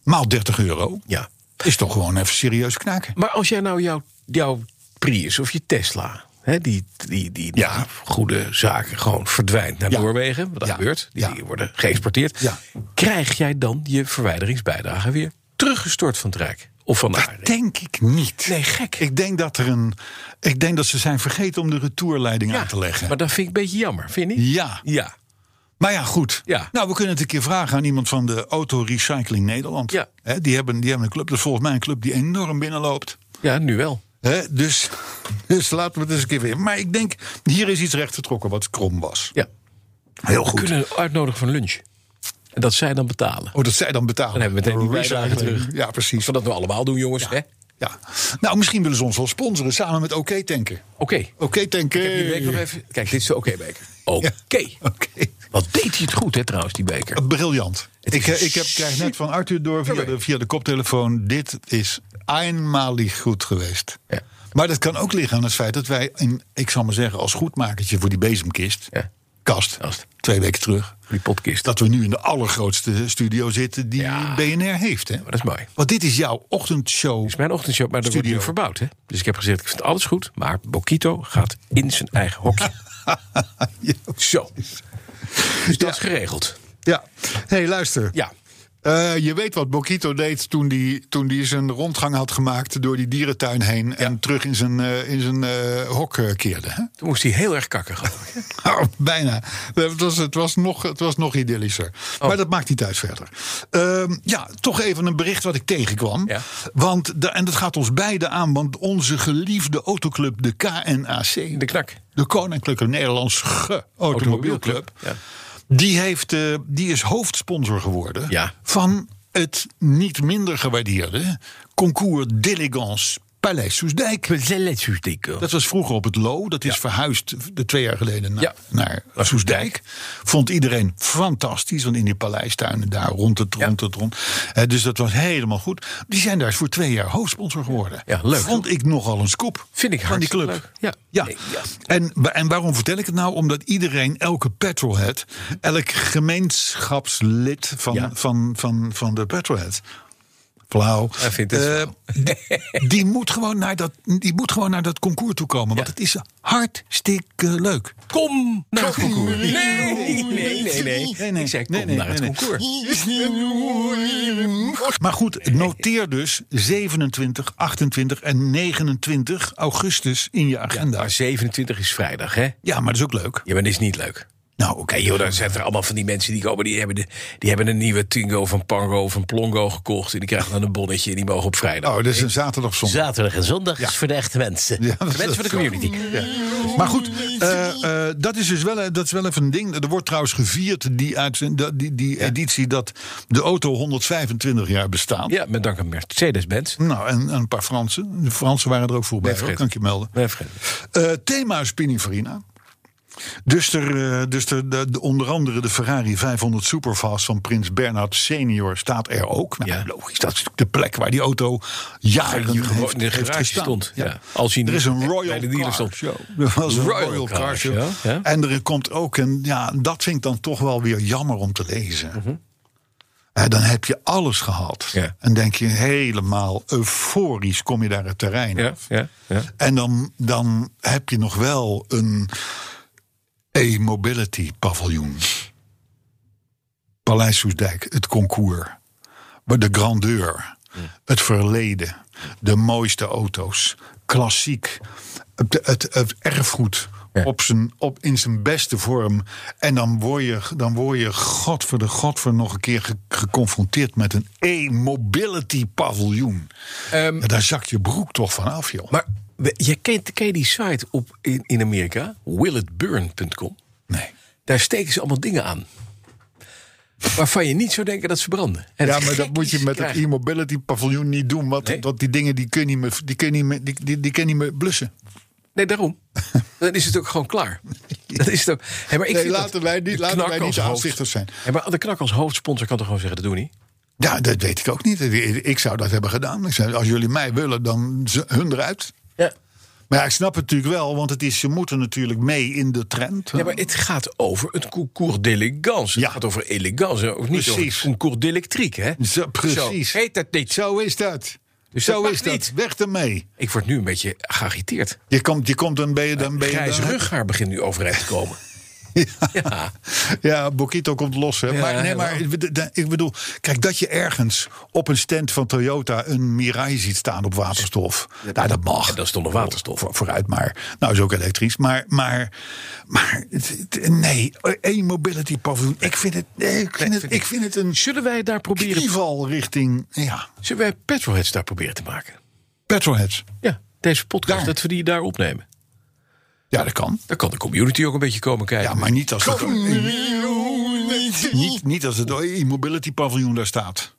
Maal 30 euro. Ja. Is toch gewoon even serieus knaken. Maar als jij nou jouw, jouw Prius of je Tesla, hè, die, die, die, die Ja. goede zaken gewoon verdwijnt naar Ja. Noorwegen, wat dat Ja. gebeurt, die Ja. dingen worden geëxporteerd, Ja. krijg jij dan je verwijderingsbijdrage weer teruggestort van het Rijk of van de aarde? Denk ik niet. Nee, gek. Ik denk dat, er een, ik denk dat ze zijn vergeten om de retourleiding aan te leggen. Maar dat vind ik een beetje jammer, vind je niet? Ja. Ja. Maar ja, goed. Ja. Nou, we kunnen het een keer vragen aan iemand van de Auto Recycling Nederland. Ja. Hè, die, hebben, die hebben een club, dat is volgens mij een club die enorm binnenloopt. ja, nu wel. Hè, dus, dus laten we het eens een keer weer. Maar ik denk, hier is iets recht getrokken wat krom was. Ja. Heel We kunnen uitnodigen voor een lunch. En dat zij dan betalen. Oh, dat zij dan betalen. Dan hebben we meteen die bijdrage terug. Ja, precies. Als we dat nou allemaal doen, jongens. hè? Oké. Ja. Nou, misschien willen ze ons wel sponsoren samen met OK Tanken. OK Tanken. Ik heb die beker nog even. Kijk, dit is de oké-beker. Oké. Ja. Oké. Wat deed hij het goed, hè, trouwens, die beker. Briljant. Ik, eh, ik heb, krijg net van Arthur door via Oké. de, via de koptelefoon. Dit is eenmalig goed geweest. Ja. Maar dat kan ook liggen aan het feit dat wij, in, ik zal maar zeggen, als goedmakertje voor die bezemkist, Ja. kast, Kast. twee weken terug, Die podcast. dat we nu in de allergrootste studio zitten die Ja. BNR heeft. Hè? Maar dat is mooi. Want dit is jouw ochtendshow. Het is mijn ochtendshow, maar er wordt Studio. nu verbouwd. Hè? Dus ik heb gezegd, ik vind alles goed. Maar Bokito gaat in zijn eigen hokje. Ja. Zo. Dus dat is geregeld. Ja. hey, luister. Ja. Eh, je weet wat Bokito deed toen die, toen die zijn rondgang had gemaakt door die dierentuin heen en terug in zijn, eh, in zijn eh, hok eh, keerde. Hè? Toen moest hij heel erg kakken gaan. Nou, bijna. Het was, het, was nog, het was nog idyllischer. Oh. Maar dat maakt niet uit verder. Ehm, ja, toch even een bericht wat ik tegenkwam. Ja. Want de, en dat gaat ons beiden aan, want onze geliefde autoclub, de KNAC, De knak. de Koninklijke Nederlandse Automobielclub, Ja. die, heeft, eh, die is hoofdsponsor geworden Ja. van het niet minder gewaardeerde concours d'élégance Palais Soesdijk. Dat was vroeger op het Lo. Dat is verhuisd de twee jaar geleden naar, Ja. naar Soesdijk. Vond iedereen fantastisch. Want in die paleistuinen daar rond het Ja. rond het rond. Eh, dus dat was helemaal goed. Die zijn daar voor twee jaar hoofdsponsor geworden. Ja, leuk. Vond ik nogal een scoop. Vind ik Van die hartstikke club. leuk. Ja. Ja. Nee, ja. En, wa- en waarom vertel ik het nou? Omdat iedereen, elke petrolhead, elk gemeenschapslid van, Ja. van, van, van de petrolhead. Flauw. Hij vindt het Eh, flauw. die, die moet gewoon naar dat, die moet gewoon naar dat concours toe komen. Want het is hartstikke leuk. Kom naar het concours. Nee, nee, nee. nee, Nee, nee. Ik zei kom Nee, nee, naar het nee, nee. concours. Maar goed, noteer dus 27, 28 en 29 augustus in je agenda. Maar 27 is vrijdag, hè? Ja, maar dat is ook leuk. Ja, maar dat is niet leuk. Nou, oké. Oké, joh, dan zijn er allemaal van die mensen die komen. Die hebben, de, die hebben een nieuwe Tingo van Pango of een Plongo gekocht. En die krijgen dan een bonnetje. En die mogen op vrijdag. Oh, dat is een zaterdag of zondag. Zaterdag en zondag is voor de echte mensen. Ja, dat is Mensen van de wel- community. Maar goed, eh, eh, dat is dus wel, dat is wel even een ding. Er wordt trouwens gevierd, die, uitzend- dat- die, die editie, dat de auto 125 jaar bestaat. Ja, met dank aan Mercedes-Benz. Nou, en, en een paar Fransen. De Fransen waren er ook voor bij, hoor, vergeten. kan ik je melden. Nee, vergeet het. Eh, thema is Pininfarina. Dus, er, eh, dus er, de, de- onder andere de Ferrari 500 Superfast van Prins Bernhard Senior staat er ook. Nou, Ja. Logisch, dat is natuurlijk de plek waar die auto jaren Hier gewoon heeft, in de heeft garage gestaan. stond, ja. Als hij er niet is een bij Royal de dealer Car stond. Show. Er was een Royal Royal, Car Car, Show, Show. ja. En er komt ook een, ja, dat vind ik dan toch wel weer jammer om te lezen. Eh, dan heb je alles gehad. Mhm. Ja. En denk je helemaal euforisch kom je daar het terrein Ja, af. ja, ja. En dan, dan heb je nog wel een e-mobility paviljoen. Paleis Soesdijk, het concours. Maar de grandeur, het verleden, de mooiste auto's, klassiek, het, het, het erfgoed. Ja. Op zijn, op, in zijn beste vorm. En dan word je, dan word je god voor de god voor nog een keer ge- geconfronteerd met een e-mobility paviljoen. Ehm, Ja, daar zakt je broek toch van af, joh. Maar we- je kent, ken je die site op in, in Amerika? Willitburn.com. nee. Daar steken ze allemaal dingen aan. Waarvan je niet zou denken dat ze branden. En Ja, het maar gek dat moet is, je met het krijgt- e-mobility paviljoen niet doen. Want Nee. dat die dingen die kun je niet meer, die kun je niet meer, die, die, die kun je niet meer blussen. Nee, daarom. Dan is het ook gewoon klaar. Dat is het ook. Hé, maar ik Nee, vind laten dat wij niet- de laten knak wij niet als de hoofd- aanstichters zijn. Hé, maar de knak als hoofdsponsor kan toch gewoon zeggen: dat doen we niet. Ja, dat weet ik ook niet. Ik zou dat hebben gedaan. Ik zei, als jullie mij willen, dan ze- hun eruit. Ja. Maar ja, ik snap het natuurlijk wel, want het is, ze moeten natuurlijk mee in de trend. Ja, maar het gaat over het concours d'élégance. Ja. Het gaat over elegance, ook niet over Precies. het concours d'électrique. Hè? Zo, precies. Zo, heet dat niet. Zo is dat. Dus Zo dat mag is dat. niet. Weg ermee. Ik word nu een beetje geagiteerd. Je komt, je komt dan ben je dan ben je Grijs dan- rughaar begint nu overeind te komen. Ja. Ja, Bokito komt los. Hè. Ja, maar, nee, maar wel. ik bedo- ik bedoel, kijk, dat je ergens op een stand van Toyota een Mirai ziet staan op waterstof. nou, dat mag. Ja, dat is toch nog waterstof? Voor- vooruit maar. Nou, is ook elektrisch. Maar, maar, maar het- het- nee, één mobility paviljoen. Ik vind het, nee, ik vind het, vind ik ik- vind het een Zullen wij daar proberen, knieval richting ja, zullen wij petrolheads daar proberen te maken? petrolheads. Ja, deze podcast, Daar. dat we die daar opnemen. Ja, dat kan. Dan kan de community ook een beetje komen kijken. Ja, maar niet als, het, niet, niet als het e-mobility paviljoen daar staat.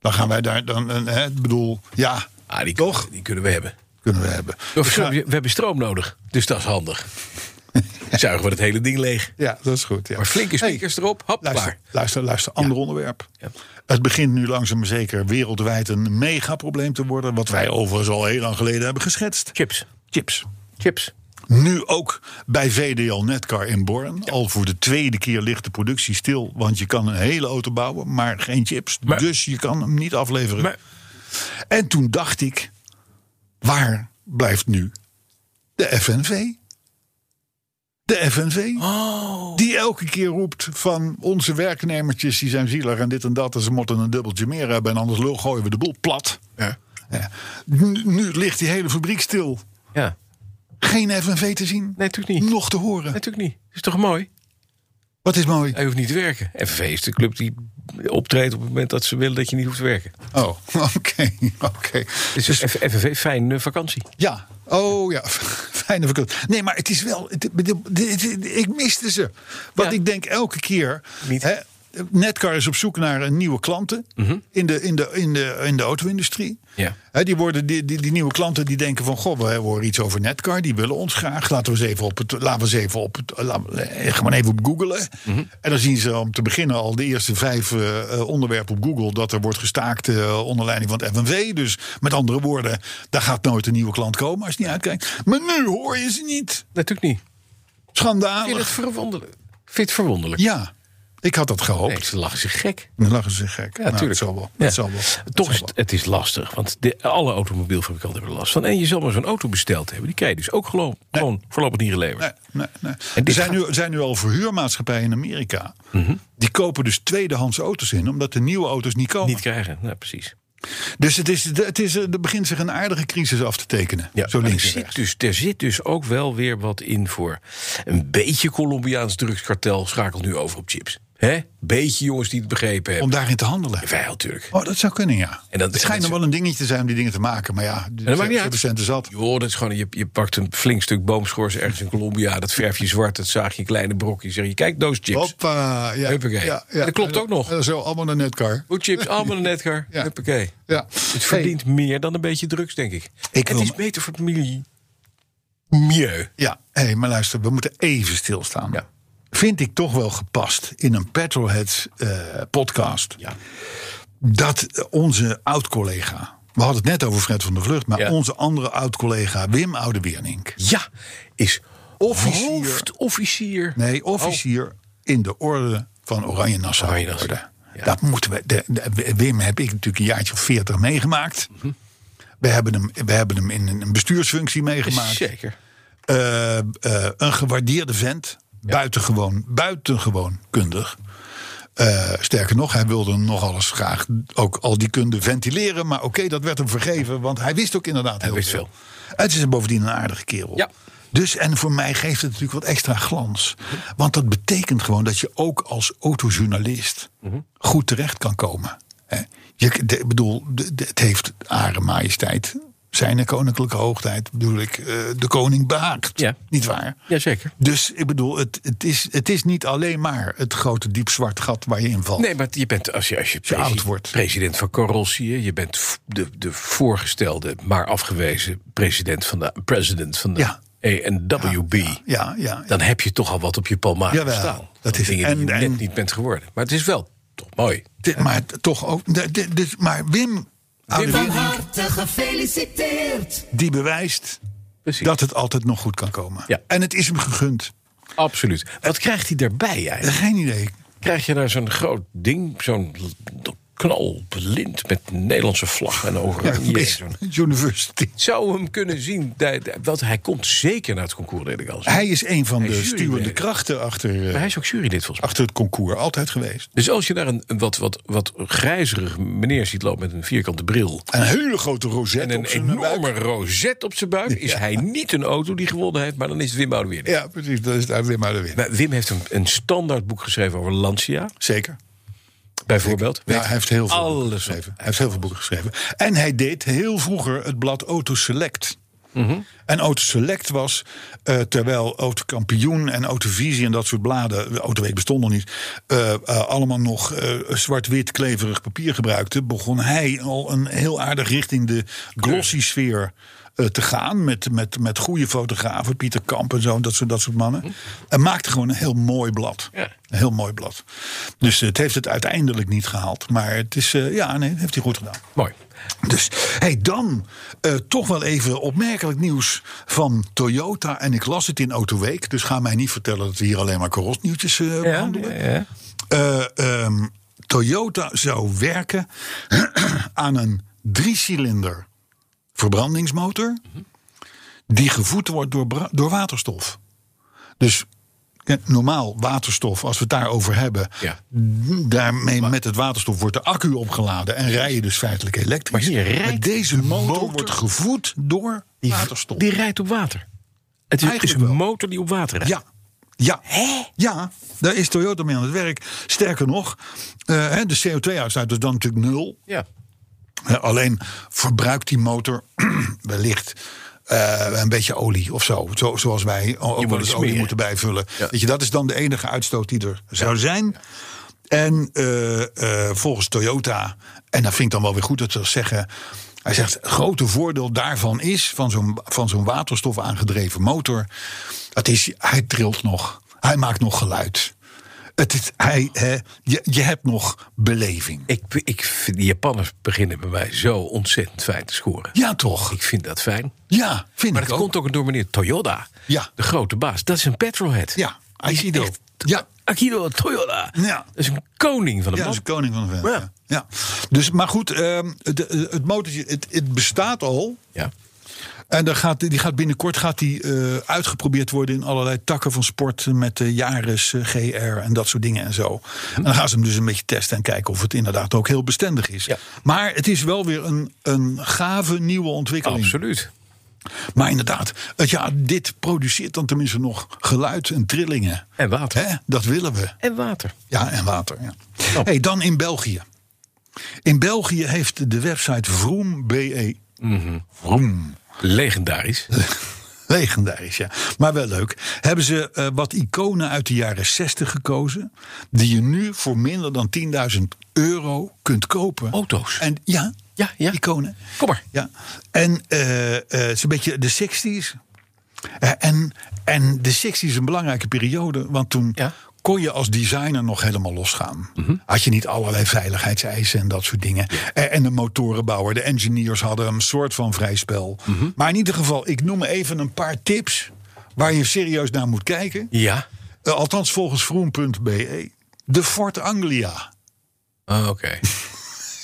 Dan gaan wij daar, dan, eh, hè, ik bedoel, ja, Ah, die, toch? die kunnen we hebben. Kunnen we hebben. Of zo, we hebben stroom nodig, dus dat is handig. Zuigen we het hele ding leeg. Ja, dat is goed. Ja. Maar flinke Hey, speakers erop, hap, luister, klaar. luister, luister, ander onderwerp. Het begint nu langzaam maar zeker wereldwijd een megaprobleem te worden. Wat wij overigens al heel lang geleden hebben geschetst. Chips, Chips. chips. Nu ook bij VDL Netcar in Born. Al voor de tweede keer ligt de productie stil. Want je kan een hele auto bouwen, maar geen chips. Maar- dus je kan hem niet afleveren. Maar En toen dacht ik, waar blijft nu de FNV? De FNV, Oh. die elke keer roept van onze werknemertjes... die zijn zielig en dit en dat en ze moeten een dubbeltje meer hebben... en anders lul gooien we de boel plat. Ja. Ja. Nu, nu ligt die hele fabriek stil. Ja, Geen FNV te zien, nee, natuurlijk niet. nog te horen. Natuurlijk niet. Is toch mooi? Wat is mooi. Hij hoeft niet te werken. FV is de club die optreedt op het moment dat ze willen dat je niet hoeft te werken. Oh, oké, oké. Dus FNV, fijne eh, vakantie. Ja, oh ja, fijne vakantie. Nee, maar het is wel, het- het- het- het- ik miste ze. Want Ja. ik denk elke keer, Niet. Mhm. hè, Netcar is op zoek naar een nieuwe klanten in, de, in, de, in, de, in de auto-industrie. Ja. Hè, die, worden, die, die, die nieuwe klanten die denken van, goh, we horen iets over Netcar, die willen ons graag. Laten we eens even op het, laten we eens even op het, laten we, eh, gewoon even op googelen. Mhm. En dan zien ze om te beginnen al de eerste vijf eh, eh, onderwerpen op Google dat er wordt gestaakt eh, onder leiding van het FNV. Dus met andere woorden, daar gaat nooit een nieuwe klant komen als je niet uitkijkt. Maar nu hoor je ze niet. Natuurlijk niet. Vind je het Schandalig. verwonderlijk? Vind je het verwonderlijk? Ja, ik had dat gehoopt. Nee, ze lachen zich gek. Dan lachen ze gek. Ja, Nou, natuurlijk. het zal wel. Ja. Het zal wel. Het Toch zal is wel. het, het is lastig, want de, alle automobielfabrikanten hebben er last van. En je zal maar zo'n auto besteld hebben. Die krijg je dus ook gewoon, gewoon voorlopig niet geleverd. Nee, nee, nee. En dit Er zijn, gaat- Mhm. nu, er zijn nu al verhuurmaatschappijen in Amerika. Die kopen dus tweedehands auto's in, omdat de nieuwe auto's niet komen. Niet krijgen, nou, precies. Dus het is, het is, er begint zich een aardige crisis af te tekenen. zo maar links er, en rechts. zit dus, er zit dus ook wel weer wat in voor een beetje Colombiaans drugskartel schakelt nu over op chips. Hè? Beetje jongens die het begrepen hebben. Om daarin te handelen. Wij natuurlijk. Oh, dat zou kunnen, ja. En dat- het schijnt nog dat- wel een dingetje te zijn om die dingen te maken. Maar ja, maakt ze- niet ze uit. centen zat. Joh, dat is gewoon, je, je pakt een flink stuk boomschors ergens in Colombia. Dat verf je zwart, dat zaag je in kleine brokjes. Zeg je, kijk, doos chips. Hoppa. Ja, Huppakee. Dat klopt ook nog. Zo allemaal naar Netcar. Hoe chips, allemaal een netgar. Ja. Huppakee. Ja. Het verdient meer dan een beetje drugs, denk ik. Ik het wil is me- beter voor het milieu. Milieu. Ja, hey, maar luister, we moeten even stilstaan. Ja. Vind ik toch wel gepast in een Petrolheads eh, podcast. Ja. Dat onze oud-collega, we hadden het net over Fred van der Vlucht, maar Ja. onze andere oud-collega Wim Oudewiernink. Ja, is Officier. hoofdofficier. Nee, officier in de orde van Oranje Nassau. Oh. Oranje Nassau. Orde. Dat moeten we, de- de- Wim heb ik natuurlijk een jaartje of veertig meegemaakt. Mhm. We hebben, hem, we hebben hem in een bestuursfunctie meegemaakt. Zeker. Eh, eh, een gewaardeerde vent. Buitengewoon, buitengewoon kundig. Eh, sterker nog, hij wilde nogal eens graag ook al die kunde ventileren. Maar oké, dat werd hem vergeven, want hij wist ook inderdaad heel wist veel. Het is bovendien een aardige kerel. Ja. Dus en voor mij geeft het natuurlijk wat extra glans. Want dat betekent gewoon dat je ook als autojournalist Mhm. goed terecht kan komen. Hè? Je, de- ik bedoel, de- de- het heeft Are Majesteit, zijn koninklijke hoogheid, bedoel ik, eh, de koning behaakt. Ja. Niet waar? Jazeker. Dus ik bedoel, het, het, is, het is niet alleen maar het grote diep zwart gat waar je in valt. Nee, maar je bent, als je, als je, je presi- oud wordt. president van Corolsië, je bent v- de, de voorgestelde, maar afgewezen president van de, president van de Ja. ANWB. Ja, ja. Dan heb je toch al wat op je palmaat Jawel, staan. dat is- dingen die en- je en- net niet bent geworden. Maar het is wel toch mooi. Dit- maar toch ook. de- de- dus, maar Wim, oude van Wim, die bewijst Precies. dat het altijd nog goed kan komen. Ja. En het is hem gegund. Absoluut. Wat krijgt hij daarbij eigenlijk? Geen idee. Krijg je daar zo'n groot ding, zo'n l- knal op lint met Nederlandse vlag en Ja, oranje. en Miss zo'n- University. Zou hem kunnen zien, dat- dat- want hij komt zeker naar het concours, deed ik al zeggen. Hij is een van de is jurylid. stuwende krachten achter, Maar eh, hij is ook jurylid volgens mij. achter het concours. Altijd geweest. Dus als je daar een, een wat, wat, wat grijzerig meneer ziet lopen met een vierkante bril. En een hele grote rozet En op een zijn buik. enorme rozet op zijn buik. Is hij niet een auto die gewonnen heeft, maar dan is het Wim Oudeweer. Ja, precies. Dat is daar weer maar de win. Maar Wim heeft een, een standaard boek geschreven over Lancia, Zeker. bijvoorbeeld. Ja, Weet hij heeft heel veel alles boeken op. geschreven. Hij heeft heel veel boeken geschreven. En hij deed heel vroeger het blad Auto Select. En Auto Select was, eh, terwijl Autokampioen en Autovisie en dat soort bladen, de Autoweek bestond nog niet, eh, eh, allemaal nog eh, zwart-wit kleverig papier gebruikten, begon hij al een heel aardig richting de glossy sfeer eh, te gaan. Met, met, met goede fotografen, Pieter Kamp en zo, dat soort, dat soort mannen. En maakte gewoon een heel mooi blad. Ja. Een heel mooi blad. Dus eh, het heeft het uiteindelijk niet gehaald. Maar het is, eh, ja, nee, heeft hij goed gedaan. Mooi. Dus hey, dan eh, toch wel even opmerkelijk nieuws van Toyota. En ik las het in Autoweek. Dus ga mij niet vertellen dat we hier alleen maar karosnieuwtjes eh, behandelen. ja. Eh, ehm, Toyota zou werken aan een driecilinder verbrandingsmotor. Die gevoed wordt door, bra- door waterstof. Dus eh, normaal waterstof, als we het daarover hebben. Ja. Daarmee met het waterstof wordt de accu opgeladen en rij je dus feitelijk elektrisch. Maar hier rijdt deze motor, wordt gevoed door waterstof. Die rijdt op water. Het is, is Eigenlijk een wel. motor die op water rijdt. Ja. Ja. ja, daar is Toyota mee aan het werk. Sterker nog, eh, hè, de CO2-uitstoot is dan natuurlijk nul. Ja. Eh, alleen verbruikt die motor wellicht eh, een beetje olie of zo. zo zoals wij o- ook moet wel het eens olie smeren. moeten bijvullen. Ja. Weet je, dat is dan de enige uitstoot die er zou zijn. En eh, eh, volgens Toyota, en dat vind ik dan wel weer goed dat ze dat zeggen. Hij zegt, het grote voordeel daarvan is, van zo'n, van zo'n waterstof aangedreven motor... dat is, hij trilt nog. Hij maakt nog geluid. Het is, hij, hè, je, je hebt nog beleving. Ik, ik, vind- die Japanners beginnen bij mij zo ontzettend fijn te scoren. Ja, toch? Ik vind dat fijn. Ja, vind Maar ik dat ook. komt ook door meneer Toyota. Ja. De grote baas. Dat is een petrolhead. Ja, Die is Aikido. echt- Ja. Aikido Toyota. Ja. Dat is een koning van de Ja, dat man. is de koning van de vent. Ja. Ja. Ja. Dus, maar goed, ehm, de- eh, het motortje, het, het bestaat al. Ja. En dan gaat, die gaat binnenkort gaat die, eh, uitgeprobeerd worden in allerlei takken van sport. Met de Jaris, eh, GR en dat soort dingen en zo. En dan gaan ze hem dus een beetje testen en kijken of het inderdaad ook heel bestendig is. Ja. Maar het is wel weer een, een gave nieuwe ontwikkeling. Absoluut. Maar inderdaad, het, ja, dit produceert dan tenminste nog geluid en trillingen. En water. Hè? Dat willen we. En water. Ja, en water. Ja. Oh. Hey, dan in België. In België heeft de website Vroom BE. Mhm. Vroom. Legendarisch. Legendarisch, ja. Maar wel leuk. Hebben ze eh, wat iconen uit de jaren 60 gekozen. die je nu voor minder dan 10.000 euro kunt kopen. Auto's. En, ja, Ja, ja. iconen. Kom maar. Ja. En eh, eh, het is een beetje de 60s. Eh, en, en de 60s is een belangrijke periode, want toen Ja. Mhm. kon je als designer nog helemaal losgaan. Had je niet allerlei veiligheidseisen en dat soort dingen. Eh, En de motorenbouwer, de engineers hadden een soort van vrij spel. Mhm. Maar in ieder geval, ik noem even een paar tips waar je serieus naar moet kijken. Ja. Eh, althans volgens vroom.be. De Ford E. Anglia. Ah, Oké.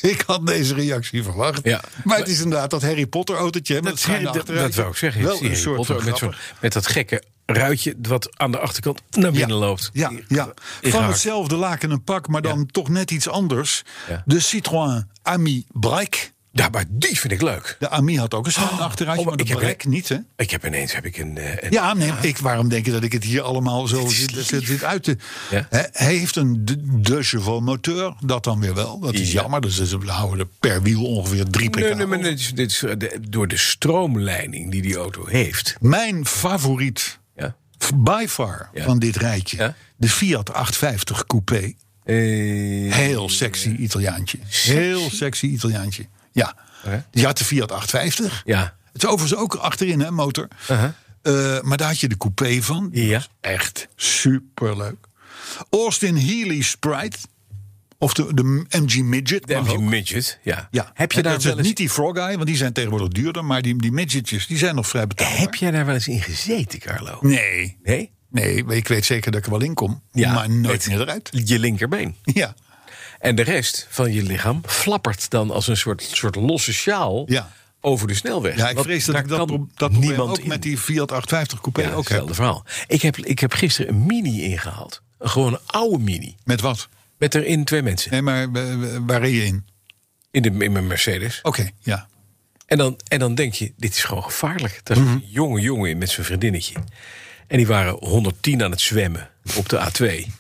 Ik had deze reactie verwacht. Ja. Maar het is inderdaad dat Harry Potter autootje. hè, met het schuine dat, dat, achteruitje. wil ik zeggen. Ik Wel zie een Harry soort Potter van met, zo'n- grappig. met dat gekke ruitje wat aan de achterkant naar binnen loopt. Ja, Die- ja. van ingehaakt. hetzelfde laken een pak, maar dan toch net iets anders. Ja. De Citroën Ami Breik. Ja, maar die vind ik leuk. De Ami had ook een schuin achteruitje, oh, maar de ik heb Breik een- niet, hè? Ik heb ineens heb ik een, eh, een- Ja, nee, Ik, waarom denk je dat ik het hier allemaal zo zit, zit, zit uit te... Ja. Hè, hij heeft een de, de cheval moteur, dat dan weer wel. Dat is Ja. jammer, dus ze houden er per wiel ongeveer drie pk. Nee, nee, maar dit is, dit is eh, de- door de stroomleiding die die auto heeft. Mijn favoriet, Ja. f- by far, Ja. van dit rijtje. Ja. De Fiat 850 Coupé. Eh, Heel sexy Italiaantje. Heel sexy Italiaantje. Ja. Oké. Die had de Fiat 850. ja. Het is overigens ook achterin, hè, motor. Uh-huh. Eh, maar daar had je de coupé van. Die Ja. was Echt superleuk. Austin Healy Sprite. Of de, de MG Midget. De mag MG ook. Midget, ja. Ja. Heb, je daar dat is wel eens, Niet die Frog Eye, want die zijn tegenwoordig duurder. Maar die, die midgetjes, die zijn nog vrij betaalbaar. heb jij daar wel eens in gezeten, Carlo? Nee. Nee? Nee, maar ik weet zeker dat ik er wel in kom. Ja, maar nooit weet- meer eruit. Je linkerbeen. Ja. En de rest van je lichaam flappert dan als een soort, soort losse sjaal Ja. over de snelweg. Ja, ik Want vrees dat daar ik dat, kan pro- dat probleem niemand ook in. met die Fiat 850 coupé Ja, ook hetzelfde heb. verhaal. Ik heb, ik heb gisteren een mini ingehaald. Een gewone oude mini. Met wat? Met erin twee mensen. Nee, maar eh, waar reed je in? In, de, in mijn Mercedes. Oké, ja. En dan, en dan denk je, dit is gewoon gevaarlijk. Daar was Mhm. een jonge jongen in met zijn vriendinnetje. En die waren 110 aan het zwemmen op de A2.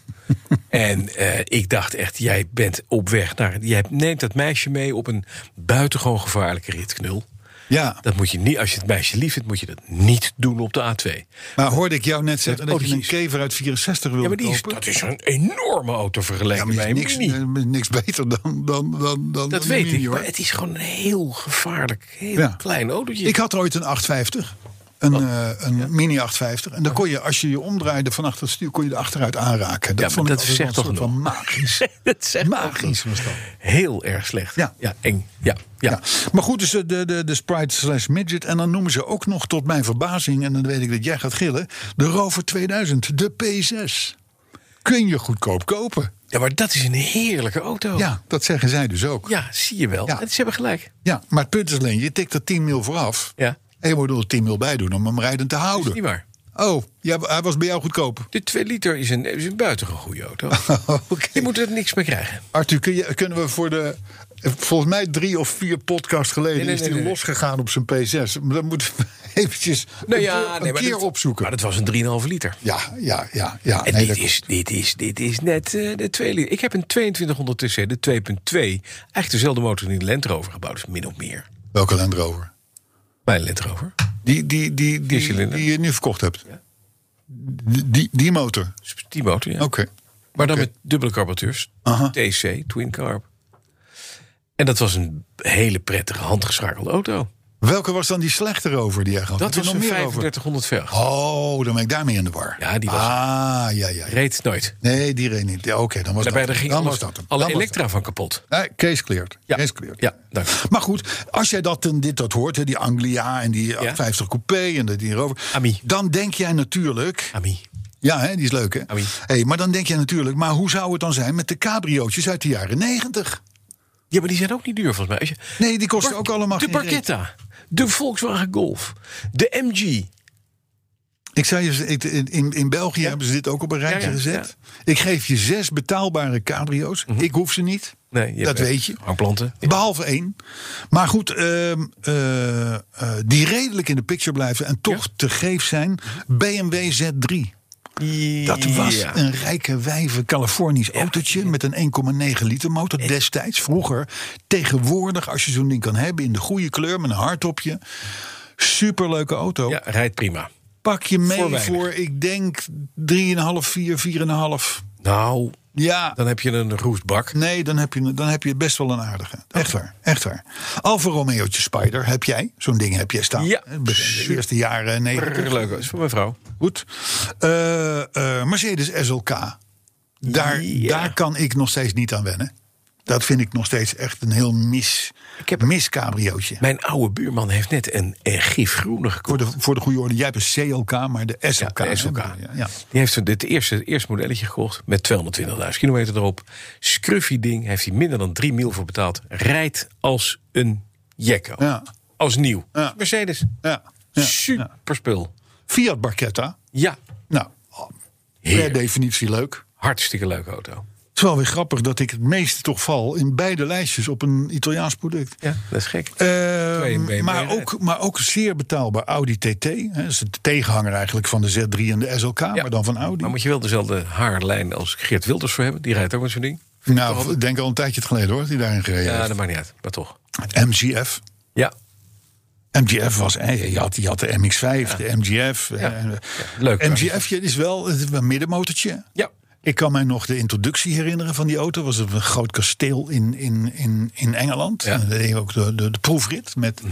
en eh, ik dacht echt, jij bent op weg naar... Jij neemt dat meisje mee op een buitengewoon gevaarlijke ritknul. Ja, Dat moet je niet, als je het meisje lief vindt, moet je dat niet doen op de A2. maar hoorde ik jou net zeggen Oh, dat je die een is- kever uit 64 wilde Ja, maar die is, kopen? dat is een enorme auto Ja, vergeleken maar bij die een is niks, mini. eh, niks beter dan, dan, dan, dan Dat een weet Mini, ik, hoor. maar het is gewoon een heel gevaarlijk, heel Ja. klein autootje. Ik had ooit een 850. Een, eh, een mini 850. En dan Oh. kon je, als je je omdraaide van achter het stuur, kon je de achteruit aanraken. Dat maar vond dat ik altijd zegt wel een toch soort van magisch. dat zegt Magisch was dat. Heel erg slecht. Ja. eng. Ja, ja. Ja. Maar goed, dus de, de, de Sprite slash Midget. En dan noemen ze ook nog, tot mijn verbazing, en dan weet ik dat jij gaat gillen, de Rover 2000, de P6. Kun je goedkoop kopen. Ja, maar dat is een heerlijke auto. Ja, dat zeggen zij dus ook. Ja, Ja, zie je wel. Ja. En ze hebben gelijk. maar het punt is alleen, je tikt er 10 mil voor af. Ja. En je moet er 10 mil bij doen om hem rijdend te Dat is niet houden. waar. Oh, ja, hij was bij jou goedkoop. De 2 liter is een, is een buitengewoon goede auto. Oké. Je moet er niks mee krijgen. Arthur, kun je, kunnen we voor de. Volgens mij drie of vier podcasts geleden Nee, nee, is hij nee, nee. losgegaan op zijn P6. Maar Dan moeten we eventjes Nou een, ja, keer- een nee, maar keer dat- opzoeken. Maar dat was een 3,5 liter. Ja, ja, ja. ja. En Nee, dit, dat- is, dit, is, dit is net eh, de 2 liter. Ik heb een 2200 TC, de 2.2. Eigenlijk dezelfde motor die de Land Rover gebouwd is, min of meer. Welke Land Rover? Mijn Land Rover. Die, die, die, die, die, Viercilinder. je nu verkocht hebt. Die, die, die motor. Dus Die motor, ja. Oké. Maar dan Oké. met dubbele carburateurs. Aha. TC, Twin Carb. En dat was een hele prettige handgeschakelde auto. Welke was dan die slechte Rover die jij gaf? Heb Dat was je een nog meer over? 3500 velg. Oh, dan ben ik daarmee in de war. Ja, die was- Ah, ja, ja. ja. Reed nooit. Nee, die reed niet. Ja, Oké, dan was Daarbij dat daar hem. ging Dan alle- was dat hem. alle Dan was elektra van kapot. dat hem. Nee, case cleared. Ja. Case cleared. Ja, dank je. Maar goed, als jij dat, en dit dat hoort, hè, die Anglia en die 50 Coupé en de- die Rover... Ami. Dan denk jij natuurlijk... Ami. Ja, hè, die is leuk, hè? Ami. Hey, maar dan denk je natuurlijk, maar hoe zou het dan zijn met de cabriootjes uit de jaren 90? Ja, maar die zijn ook niet duur volgens mij. Als je- Nee, die kosten ook allemaal De geen reet. Barchetta. De Volkswagen Golf. De MG. Ik zei je, ik- in, in, in België hebben ze dit ook op een rijtje Ja, ja, gezet. Ik geef je zes betaalbare cabrio's. Ik hoef ze niet. Nee, je dat hebt, weet je. Hangplanten. Behalve één. Maar goed, ehm, eh, eh, die redelijk in de picture blijven en toch te geef zijn. BMW Z3. Dat was Ja. een rijke wijve Californisch autootje met een 1,9 liter motor destijds, vroeger. Tegenwoordig, als je zo'n ding kan hebben in de goede kleur met een hardtopje. Superleuke auto. Ja, rijdt prima. Pak je mee Voor voor, weinig. ik denk, 3,5, 4, 4,5. Nou, Ja, dan heb je een roestbak. nee, dan heb, je, dan heb je best wel een aardige. Echt waar, echt waar. Alfa Romeo'tje Spider heb jij. Zo'n ding heb jij staan. Ja. Hè, De eerste jaren Brrr, 90. Leuk, dat is voor mijn vrouw. Goed. Eh, eh, Mercedes SLK. Daar, Ja. daar kan ik nog steeds niet aan wennen. Dat vind ik nog steeds echt een heel mis, Ik heb- mis cabriootje. Mijn oude buurman heeft net een, eh gifgroene Voor gekocht. de, voor de goede orde, jij hebt een CLK, maar de SLK. Ja, de SLK. hè, bedoel je? Ja. Die heeft het eerste, het eerste modelletje gekocht met 220.000 kilometer erop. Scruffy ding, heeft hij minder dan 3 mil voor betaald. Rijdt als een jekko. Ja. Als nieuw. Ja. Mercedes. Ja. Ja. Super spul. Fiat Barchetta. Ja, Nou, per Heerlijk. definitie leuk. hartstikke leuke auto. Het is wel weer grappig dat ik het meeste toch val in beide lijstjes op een Italiaans product. Ja, dat is gek. Ehm, Twee BMW maar, rijdt. ook, maar ook zeer betaalbaar Audi TT. Hè, dat is de tegenhanger eigenlijk van de Z3 en de SLK, maar dan van Audi. Maar moet je wel dezelfde haarlijn als Geert Wilders voor hebben? Die rijdt ook met zo'n ding. nou, ik denk al een tijdje geleden hoor, dat hij daarin gereden Ja, heeft. dat maakt niet uit, maar toch. MGF. Ja, MGF was, eh, je had, je had de MX-5, de MGF. eh, leuk. MGF je, is wel het is wel een middenmotortje. Ja. Ik kan mij nog de introductie herinneren van die auto. was op een groot kasteel in, in, in, in Engeland. Ja. Mhm. En daar deed je ook de, de, de proefrit met,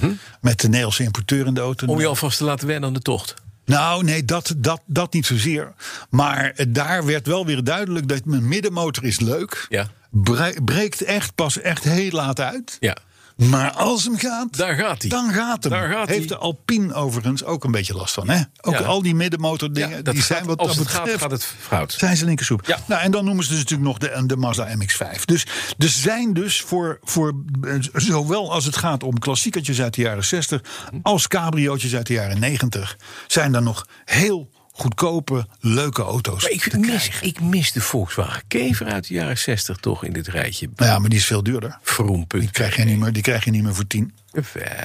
met de Nederlandse importeur in de auto. Om je alvast te laten wennen aan de tocht. Nou, nee, dat, dat, dat niet zozeer. Maar eh, daar werd wel weer duidelijk dat mijn middenmotor is leuk. Ja. Bre- breekt echt pas echt heel laat uit. Ja. Maar als hem gaat, Daar gaat hij. dan gaat hem. Daar gaat hij. Heeft de Alpine overigens ook een beetje last van. Hè? Ook Ja. al die middenmotordingen, Ja, dat die gaat- zijn wat als dat het gaat, betreft, gaat het fout. Zijn ze linkersoep. Ja. Nou, en dan noemen ze dus natuurlijk nog de, de Mazda MX-5. Dus er zijn dus voor, voor eh, zowel als het gaat om klassiekertjes uit de jaren 60... als cabriootjes uit de jaren 90... zijn er nog heel goedkope, leuke auto's Maar ik te mis, krijgen. ik mis de Volkswagen Kever uit de jaren 60 toch in dit rijtje. Nou ja, maar die is veel duurder. Vroompunt. Die krijg je niet meer, die krijg je niet meer voor 10.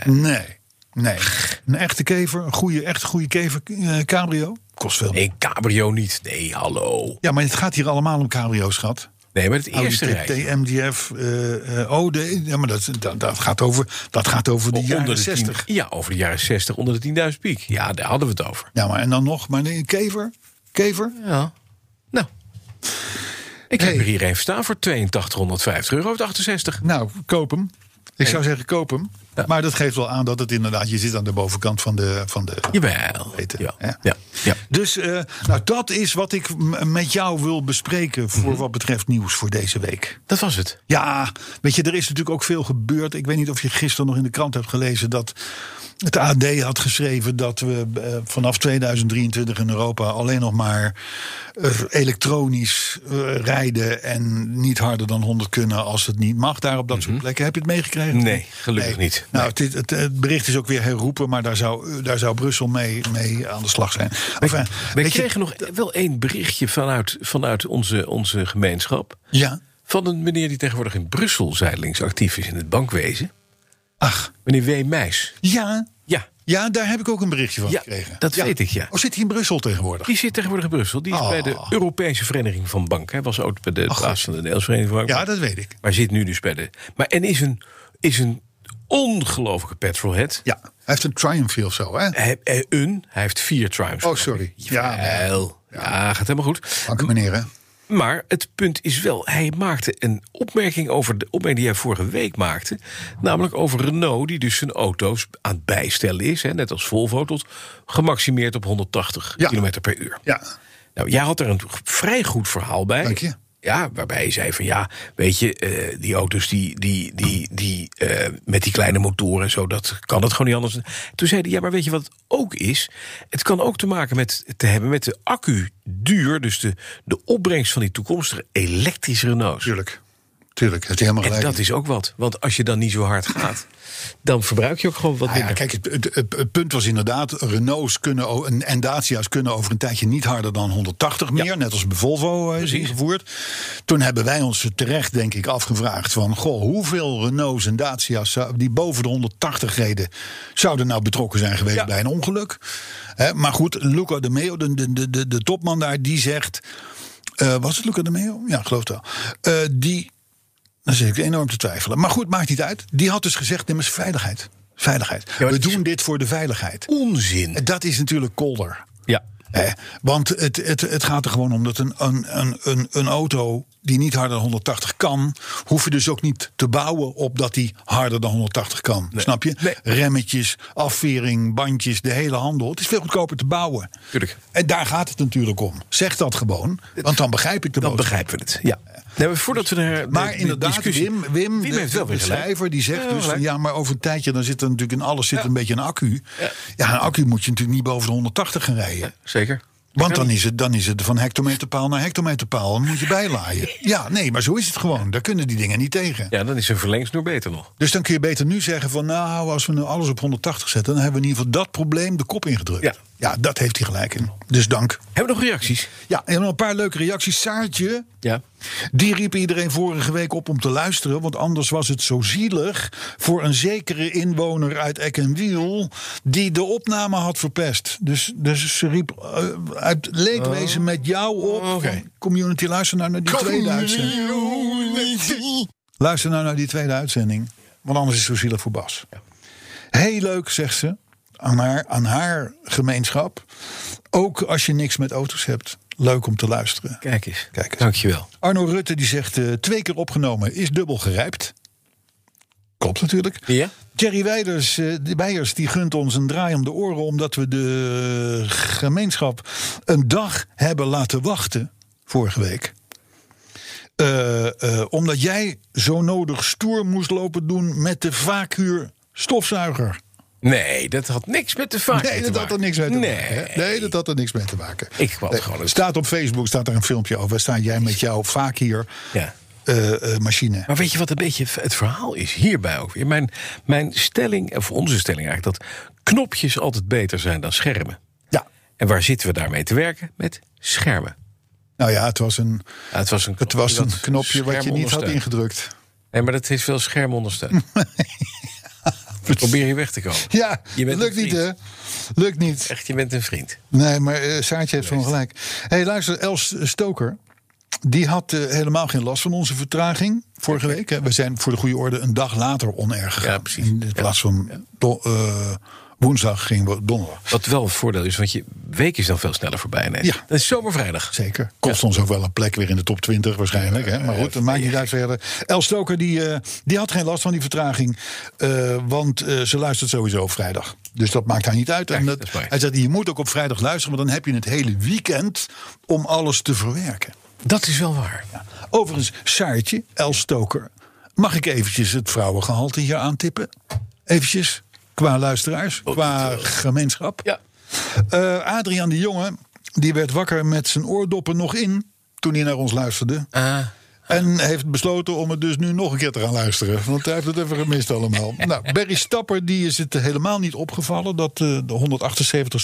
Nee, nee. Een echte kever, een goede, echt goede kever eh, cabrio, kost veel meer. Nee, cabrio niet. Nee, hallo. Ja, maar het gaat hier allemaal om cabrio's, schat. Nee, maar het Audi eerste TT, rijtje. MDF, eh, eh, oh, de, ja, maar dat, dat, dat gaat over, dat gaat over de jaren Onder de 60. 10 ja, over de jaren 60, onder de 10.000 piek. Ja, daar hadden we het over. Ja, maar en dan nog, maar nee, een kever, kever. Ja. Nou. Ik heb Hey. er hier even staan voor 8250 euro uit 68. Nou, koop hem. Ik zou zeggen, koop hem. Maar dat geeft wel aan dat het inderdaad, je zit aan de bovenkant van de... Van de Jawel. Weten, Ja. ja. Ja. Ja. Dus eh, nou, dat is wat ik m- met jou wil bespreken voor Mhm. wat betreft nieuws voor deze week. Dat was het. Ja, weet je, er is natuurlijk ook veel gebeurd. Ik weet niet of je gisteren nog in de krant hebt gelezen dat het AD had geschreven dat we eh, vanaf 2023 in Europa alleen nog maar eh, elektronisch eh, rijden en niet harder dan 100 kunnen als het niet mag. Daar op dat soort plekken heb je het meegekregen? Mhm. Nee, gelukkig niet. Nou, het, is- het, het bericht is ook weer herroepen, maar daar zou, daar zou Brussel mee, mee aan de slag zijn. Enfin, We weet je- kregen nog wel één berichtje vanuit, vanuit onze, onze gemeenschap. ja, Van een meneer die tegenwoordig in Brussel zijdelings actief is in het bankwezen. ach, Meneer W. Meijs. ja, Ja, ja, daar heb ik ook een berichtje van Ja, gekregen. dat weet ik, ja. Oh, zit hij in Brussel tegenwoordig? die zit tegenwoordig in Brussel. Die is Oh. bij de Europese Vereniging van Banken. Hij was ook bij de plaats van de Nederlandse Vereniging van Banken. Ja, dat weet ik. Maar zit nu dus bij de... Maar en is een, is een ongelofelijke petrolhead. Ja, hij heeft een Triumph of zo, hè? Hij, hij- een, hij heeft vier triumphs. Oh, sorry. Ja, Ja, wel. ja. gaat helemaal goed. Dank u, meneer, hè? Maar het punt is wel, hij maakte een opmerking over de opmerking die hij vorige week maakte. Namelijk over Renault, die dus zijn auto's aan het bijstellen is. Hè, net als Volvo, tot gemaximeerd op 180 Ja. km per uur. Ja. Nou, jij had er een g- vrij goed verhaal bij. Dank je. Ja, waarbij je zei van ja, weet je, eh, die auto's die, die, die, die eh, met die kleine motoren en zo, dat kan het gewoon niet anders. Toen zei hij, ja, maar weet je wat het ook is? Het kan ook te maken met te hebben met de accuduur, dus de, de opbrengst van die toekomstige elektrische Renaults. Tuurlijk. Tuurlijk, heeft hij helemaal En gelijk. dat is ook wat, want als je dan niet zo hard gaat, dan verbruik je ook gewoon wat Ah ja, minder. kijk, het, het- het- het punt was inderdaad, Renaults kunnen, o- en- en Dacia's kunnen over een tijdje niet harder dan 180 meer, net als bij Volvo eh, is ingevoerd. Toen hebben wij ons terecht, denk ik, afgevraagd van, goh, hoeveel Renaults en Dacia's zou- die boven de 180 reden, zouden nou betrokken zijn geweest bij een ongeluk? Hè, maar goed, Luca de Meo, de, de, de, de, de topman daar, die zegt, eh, was het Luca de Meo? Ja, geloof het wel. Eh, die dan zit ik enorm te twijfelen. Maar goed, maakt niet uit. Die had dus gezegd, neem eens veiligheid. Veiligheid. maar We het is- doen dit voor de veiligheid. Onzin. En Dat is natuurlijk kolder. Ja. Hè? Want het, het, het gaat er gewoon om dat een, een, een, een, een auto die niet harder dan 180 kan, hoef je dus ook niet te bouwen op dat die harder dan 180 kan. Snap je? Nee. Remmetjes, afvering, bandjes, de hele handel. Het is veel goedkoper te bouwen. Tuurlijk. En daar gaat het natuurlijk om. Zeg dat gewoon, want dan begrijp ik de Dan boodschap. begrijpen we het. Ja. Nee, maar voordat we naar de- Maar de inderdaad, discussie- Wim, Wim, de, heeft wel de weer gelijk. schrijver, die zegt Ja, dus... van, gelijk. ja, maar over een tijdje dan zit er natuurlijk in alles zit een beetje een accu. Ja. een accu moet je natuurlijk niet boven de 180 gaan rijden. Zeker. Want dan is, het, dan is het van hectometerpaal naar hectometerpaal. Dan moet je bijlaaien. Ja, nee, maar zo is het gewoon. Daar kunnen die dingen niet tegen. Ja, dan is een verlengsnoer beter nog. Dus dan kun je beter nu zeggen van... nou, als we nu alles op 180 zetten... dan hebben we in ieder geval dat probleem de kop ingedrukt. Ja. ja dat heeft hij gelijk in. Dus dank. Hebben we nog reacties? Ja, en nog een paar leuke reacties. Saartje, Ja. die riep iedereen vorige week op om te luisteren. Want anders was het zo zielig voor een zekere inwoner uit Eck en Wiel. die de opname had verpest. Dus, dus ze riep eh, uit Oh. leedwezen met jou op. van, Community, luister nou naar die tweede uitzending. Luister nou naar die tweede uitzending. Want anders is het zo zielig voor Bas. Heel leuk, zegt ze. Aan haar, aan haar gemeenschap. Ook als je niks met auto's hebt. Leuk om te luisteren. Kijk eens. Kijk eens. Dankjewel. Arno Rutte die zegt eh, twee keer opgenomen, is dubbel gerijpt. Klopt natuurlijk. Ja? Jerry Weiders, eh, de Weijers die gunt ons een draai om de oren... omdat we de gemeenschap een dag hebben laten wachten vorige week. Eh, eh, omdat jij zo nodig stoer moest lopen doen met de vacuür stofzuiger. Nee, dat had niks met de vaart Nee, te dat had er maken. niks mee te nee. maken. hè? Nee, dat had er niks mee te maken. Ik wou Nee, gewoon een- Staat op Facebook, staat er een filmpje over. Sta jij met jou vaak hier Ja. eh, eh, machine. Maar weet je wat een beetje het verhaal is hierbij ook weer? Mijn, mijn stelling, of onze stelling eigenlijk, dat knopjes altijd beter zijn dan schermen. Ja. En waar zitten we daarmee te werken? Met schermen. Nou ja, het was een, Ja, het was een, het was knopje een dat knopje wat je scherm niet had ondersteunt. ingedrukt. Nee, maar dat heeft veel schermondersteuning. Probeer hier weg te komen. Ja, Je bent lukt een niet vriend. hè? Lukt niet. Echt, je bent een vriend. Nee, maar eh Saartje heeft gewoon gelijk. Hé, hey, luister, Els Stoker. Die had eh, helemaal geen last van onze vertraging vorige week. Hè. We zijn voor de goede orde een dag later onerg gegaan. Ja, precies. In plaats van do- eh, woensdag gingen we donderdag. Wat wel een voordeel is, want je week is dan veel sneller voorbij. ineens. Ja. Dat is zomervrijdag. Zeker. Kost ons ook wel een plek weer in de top 20 waarschijnlijk. Hè? Maar goed, dat maakt niet uit verder. El Stoker die, eh, die had geen last van die vertraging. eh, want eh, ze luistert sowieso op vrijdag. Dus dat maakt haar niet uit. en Kijk, dat, dat is mooi. hij zegt, je moet ook op vrijdag luisteren. Want dan heb je het hele weekend om alles te verwerken. Dat is wel waar. Overigens, Saartje, El Stoker. Mag ik eventjes het vrouwengehalte hier aantippen? Eventjes, qua luisteraars, qua gemeenschap. Ja. Eh, Adriaan de Jonge, die werd wakker met zijn oordoppen nog in toen hij naar ons luisterde. Ah, En heeft besloten om het dus nu nog een keer te gaan luisteren. Want hij heeft het even gemist allemaal. Nou, Barry Stapper die is het helemaal niet opgevallen... dat eh, de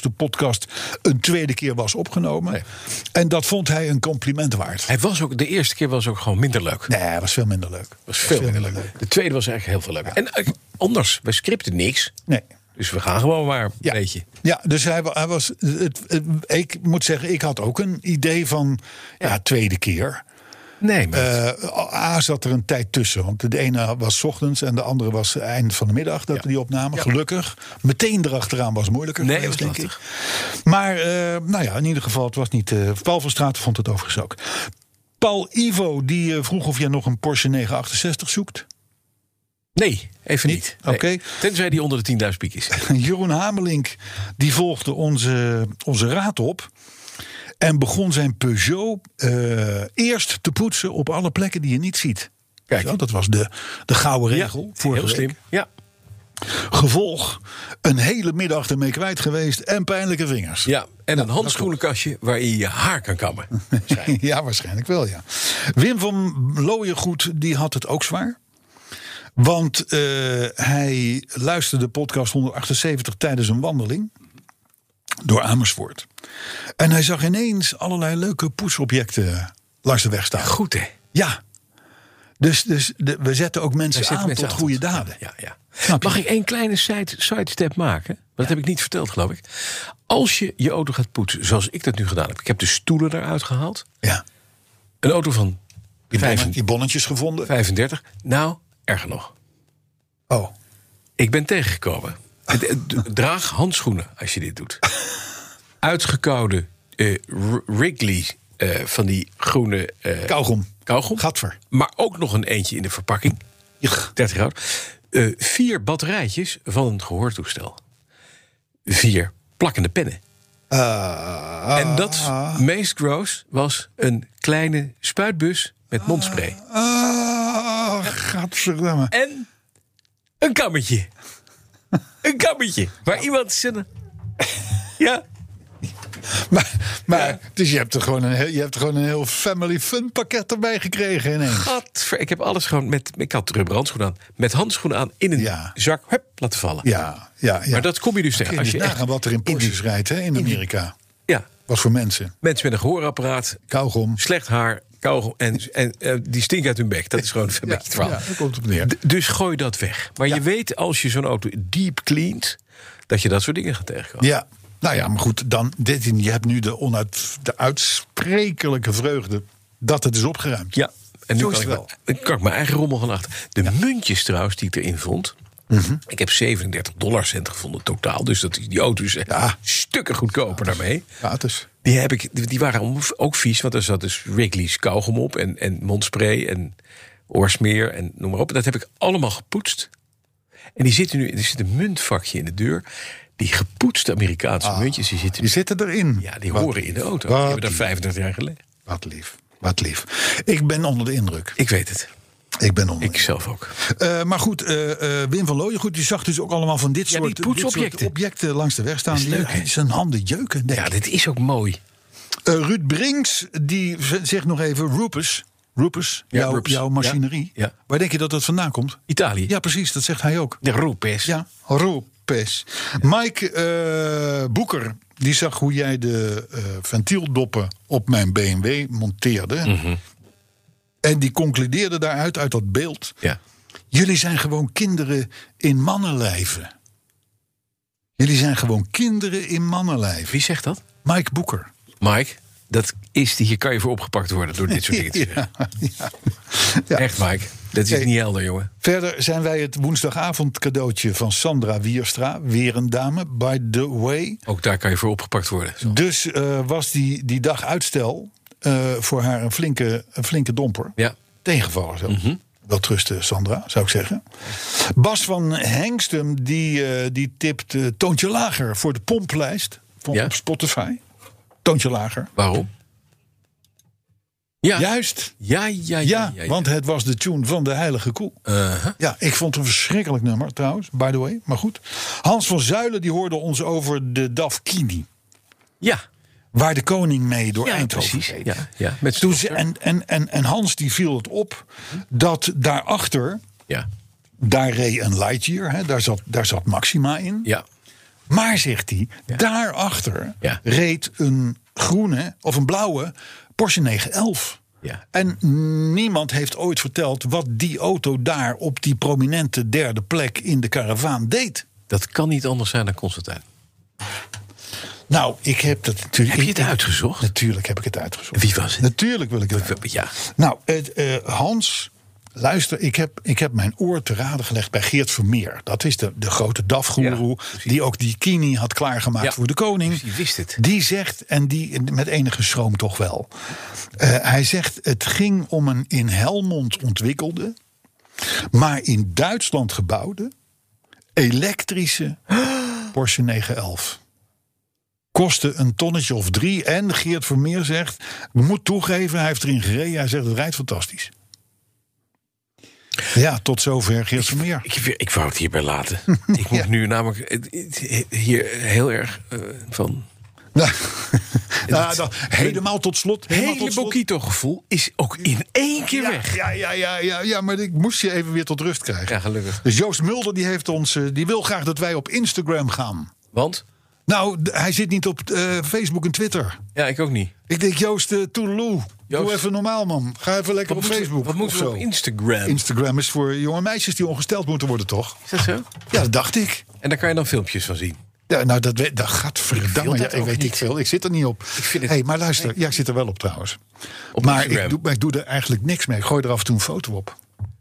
178ste podcast een tweede keer was opgenomen. En dat vond hij een compliment waard. hij was ook, de eerste keer was ook gewoon minder leuk. Nee, hij was veel minder leuk. was veel minder leuk. De tweede was eigenlijk heel veel leuk. En eh, anders, wij scripten niks. Nee. Dus we gaan gewoon maar een Ja. beetje. Ja, dus hij, wa- hij was. Het, het- ik moet zeggen, ik had ook een idee van. Ja, tweede keer. Nee, maar Eh, A zat er een tijd tussen. Want de ene was 's ochtends en de andere was eind van de middag dat we die opnamen. Gelukkig. Meteen erachteraan was moeilijker. Nee, geweest, was denk ik. Maar eh, nou ja, in ieder geval, het was niet. eh, Paul van Straat vond het overigens ook. Paul Ivo die eh, vroeg of jij nog een Porsche 968 zoekt. nee, even niet. niet? Nee. Oké. Tenzij die onder de 10.000 piek is. Jeroen Hamelink die volgde onze, onze raad op. En begon zijn Peugeot eh, eerst te poetsen op alle plekken die je niet ziet. Kijk. Zo, dat was de, de gouden regel. vorige heel week. slim. Ja. Gevolg, een hele middag ermee kwijt geweest en pijnlijke vingers. ja. En een handschoenenkastje waarin je je haar kan kammen. ja, waarschijnlijk wel, ja. Wim van Looijengoed, die had het ook zwaar. Want eh, hij luisterde podcast 178 tijdens een wandeling door Amersfoort. En hij zag ineens allerlei leuke poesobjecten langs de weg staan. Goed, hè? Ja. Dus, dus de- we zetten ook Daar mensen zitten aan mensen tot goede aan. daden. Ja, ja. Snap je? Mag ik één kleine side, sidestep maken? Maar Dat heb ik niet verteld, geloof ik. Als je je auto gaat poetsen, zoals ik dat nu gedaan heb. Ik heb de stoelen eruit gehaald. Ja. Een auto van Die, vijf- bonnen- die bonnetjes gevonden. 35. Nou, erger nog. Oh, Ik ben tegengekomen. Het- het- Draag handschoenen als je dit doet. Uitgekoude eh, R- Wrigley eh, van die groene eh Kauwgom. kauwgom. Gadver. Maar ook nog een eentje in de verpakking. 30 hout. Eh, vier batterijtjes van een gehoortoestel. Vier plakkende pennen. Ah, en dat meest gross was een kleine spuitbus met mondspray. Ah, gadverdamme. En een kammetje. Een kammetje. Waar iemand zijn... Ja, Maar, maar dus je hebt, er gewoon een heel, je hebt er gewoon een heel family fun pakket erbij gekregen in één. gadver. Ik heb alles gewoon met... Ik had rubber handschoenen aan. Met handschoenen aan in een Ja. zak. Hup, laten vallen. Ja, ja, ja. Maar dat kom je dus Kun tegen. je Als niet je echt, nagaan wat er in Porsches rijdt hè, in Amerika. ja, Wat voor mensen. mensen met een gehoorapparaat, Kauwgom. slecht haar, kauwgom en, en eh, die stinken uit hun bek. Dat is gewoon een beetje het verhaal. Ja, daar komt het op neer. D- Dus gooi dat weg. Maar je weet als je zo'n auto deep cleant, dat je dat soort dingen gaat tegenkomen. Ja, nou ja, maar goed, dan dit, in- je hebt nu de, onuit, de uitsprekelijke vreugde dat het is opgeruimd. Ja, en nu Zo kan is ik, het wel, dan kan ik mijn eigen rommel gaan achter. De muntjes trouwens die ik erin vond. Mhm. Ik heb 37 dollarcent gevonden totaal. Dus dat, die auto is echt Ja. stukken goedkoper daarmee. Gratis. Die, heb ik, die die waren om- ook vies, want er zat dus Wrigley's kauwgom op... en, en mondspray en oorsmeer en noem maar op. Dat heb ik allemaal gepoetst. En die zitten nu, er zit een muntvakje in de deur. Die gepoetste Amerikaanse muntjes, die zitten Ah. Die nu... zitten erin. Ja, die Wat horen in de lief, auto. Die Wat, hebben daar 35 jaar geleden. wat lief. Wat lief. Ik ben onder de indruk. Ik weet het. Ik ben onder. Ik de zelf ook. indruk. Eh, maar goed, eh, eh, Wim van Looyen, goed, die zag dus ook allemaal van dit, Ja, die soort, dit soort poetsobjecten. objecten langs de weg staan. is Die leuk, hè? zijn handen jeuken. denk Ja, ik. dit is ook mooi. Eh, Ruud Brinks, die z- zegt nog even: Rupus, Rupus, Ja, jouw, Rupes. jouw machinerie. Ja, ja. Waar denk je dat dat vandaan komt? Italië. Ja, precies, dat zegt hij ook. De roepes. Ja, Rupes. Mike eh, Boeker, die zag hoe jij de eh, ventieldoppen op mijn BMW monteerde. Mhm. En die concludeerde daaruit, uit dat beeld. Ja. Jullie zijn gewoon kinderen in mannenlijven. Jullie zijn gewoon kinderen in mannenlijven. Wie zegt dat? Mike Boeker. Mike, dat is, hier kan je voor opgepakt worden door dit soort dingen te zeggen. Ja, ja. Ja. Echt, Mike. Dat is Hey. niet helder, jongen. Verder zijn wij het woensdagavond cadeautje van Sandra Wierstra. Weer een dame, by the way. Ook daar kan je voor opgepakt worden. Dus eh, was die, die dag uitstel eh, voor haar een flinke, een flinke domper. Ja. Mhm. Tegenvaller zelfs. Wel trusten, Sandra, zou ik zeggen. Bas van Hengstum, die, eh, die tipt eh, Toontje Lager voor de pomplijst van, Ja. op Spotify. Toontje Lager. Waarom? Ja. Ja, Juist, ja, ja. ja, ja, ja. want het was de tune van de heilige koe. Uh-huh. Ja, ik vond het een verschrikkelijk nummer trouwens, by the way. Maar goed. Hans van Zuilen die hoorde ons over de Dafkini. Ja, Waar de koning mee door ja Eindhoven precies. reed. Ja, ja. Met Toen ze, en, en, en, en Hans die viel het op dat daarachter, Ja, daar reed een Lightyear. Hè, daar, zat, daar zat Maxima in. ja. Maar, zegt hij, daarachter Ja. reed een groene of een blauwe Porsche 911. Ja. En niemand heeft ooit verteld wat die auto daar op die prominente derde plek in de karavaan deed. Dat kan niet anders zijn dan Constantijn. Nou, ik heb dat natuurlijk. Heb je het ik- uitgezocht? Natuurlijk heb ik het uitgezocht. Wie was het? Natuurlijk wil ik het. weten. Ja. Nou, het, eh, Hans, luister, ik heb, ik heb mijn oor te raden gelegd bij Geert Vermeer. Dat is de, de grote DAF-goeroe, die ook die kini had klaargemaakt Ja, voor de koning. die wist het. Die zegt, en die met enige schroom toch wel. eh, hij zegt, het ging om een in Helmond ontwikkelde, maar in Duitsland gebouwde, elektrische Porsche 911 kostte een tonnetje of drie. En Geert Vermeer zegt, moet toegeven, hij heeft erin gereden. Hij zegt, het rijdt fantastisch. Ja, tot zover Geert Vermeer. Ik, ik wou het hierbij laten. ik moet nu namelijk het- het- hier heel erg eh, van... Nou, nou, dan helemaal tot slot. Helemaal Hele tot slot. Bokito-gevoel is ook in één keer weg. Ja, ja, ja, ja, ja, maar ik moest je even weer tot rust krijgen. Ja, gelukkig. Dus Joost Mulder die heeft ons, eh, die wil graag dat wij op Instagram gaan. Want? Nou, d- hij zit niet op eh, Facebook en Twitter. Ja, ik ook niet. Ik denk, Joost, eh toedeloe. Doe Joost. even normaal, man. Ga even lekker Wat op moeten we- Facebook. Wat moeten of we zo. op Instagram? Instagram is voor jonge meisjes die ongesteld moeten worden, toch? is dat zo? Ja, dat dacht ik. En daar kan je dan filmpjes van zien. Ja, nou, dat, weet, dat gaat verdamme. wil Ik, dat ik ook weet niet niet. veel. Ik zit er niet op. vind het- hey, maar luister. Ja, ik zit er wel op trouwens. Op maar, Instagram. ik doe, maar ik doe er eigenlijk niks mee. Ik gooi er af en toe een foto op.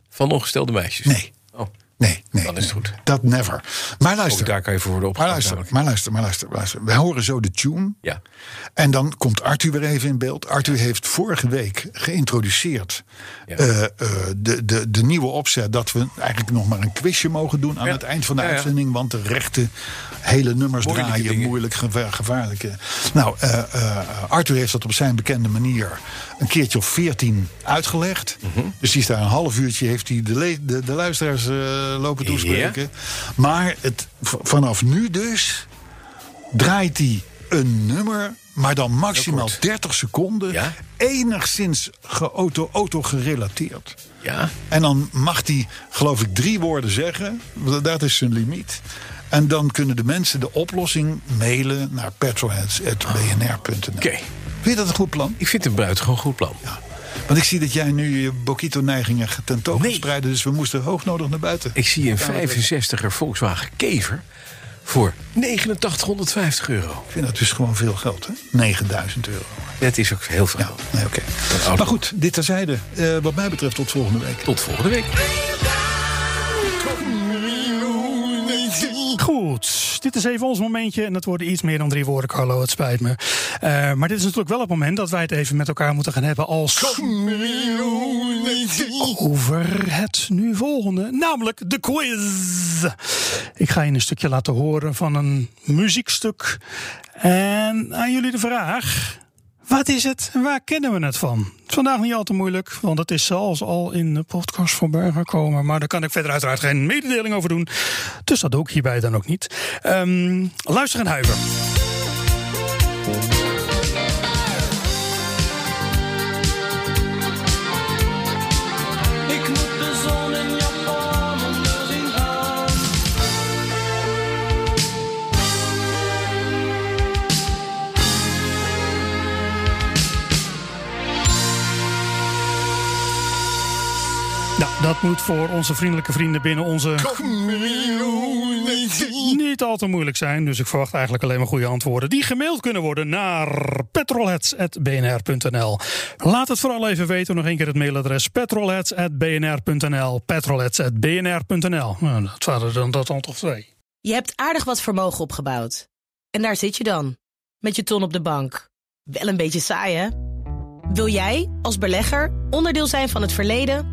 Van ongestelde meisjes. Nee. Oh. Nee, nee. Dan is het nee. goed. Dat never. Maar luister. Ook daar kan je voor worden maar opgepakt. luister, namelijk. maar luister, maar luister, maar luister. Wij horen zo de tune. Ja. En dan komt Arthur weer even in beeld. Arthur heeft vorige week geïntroduceerd Ja. eh, eh, de, de, de nieuwe opzet dat we eigenlijk nog maar een quizje mogen doen aan Ja. het eind van de Ja, ja. uitzending. Want de rechte hele nummers Moeilijke draaien, dingen. moeilijk, geva- gevaarlijke. Nou, eh, eh, Arthur heeft dat op zijn bekende manier een keertje of veertien uitgelegd. Dus die is daar een half uurtje, heeft hij de, le- de, de luisteraars eh, lopen toespreken. Maar het, v- vanaf nu dus draait hij een nummer, maar dan maximaal 30 seconden, Ja. enigszins geauto- auto-gerelateerd. Ja. En dan mag hij, geloof ik, drie woorden zeggen. want Dat is zijn limiet. En dan kunnen de mensen de oplossing mailen naar petrolheads.bnr.nl. Oké. Vind je dat een goed plan? Ik vind het een buitengewoon goed plan. Want ik zie dat jij nu je Bokito-neigingen tentoon Nee. spreiden. Dus we moesten hoognodig naar buiten. Ik zie een Ja, dat- 65er Volkswagen Kever voor 8950 euro. Ik vind dat dus gewoon veel geld, hè? 9000 euro. Dat is ook heel veel. Ja, nee, oké. oude- Maar goed, dit terzijde. Eh, wat mij betreft tot volgende week. Tot volgende week. Goed, dit is even ons momentje. En dat worden iets meer dan drie woorden, Carlo. Het spijt me. Eh, maar dit is natuurlijk wel het moment dat wij het even met elkaar moeten gaan hebben als... Over het nu volgende, namelijk de quiz. Ik ga je een stukje laten horen van een muziekstuk. En aan jullie de vraag... Wat is het en waar kennen we het van? Vandaag niet al te moeilijk, want het is zelfs al in de podcast voorbij gekomen. Maar daar kan ik verder uiteraard geen mededeling over doen. Dus dat doe ik hierbij dan ook niet. Ehm, luister en huiver. Ik moet de zon in Japan onder zien gaan. Nou, dat moet voor onze vriendelijke vrienden binnen onze... Niet al te moeilijk zijn, dus ik verwacht eigenlijk alleen maar goede antwoorden... die gemaild kunnen worden naar petrolheads.bnr.nl. Laat het vooral even weten, nog een keer het mailadres... petrolheads.bnr.nl, petrolheads.bnr.nl. Nou, dat waren dan dat dan toch twee. Je hebt aardig wat vermogen opgebouwd. En daar zit je dan, met je ton op de bank. Wel een beetje saai, hè? Wil jij, als belegger, onderdeel zijn van het verleden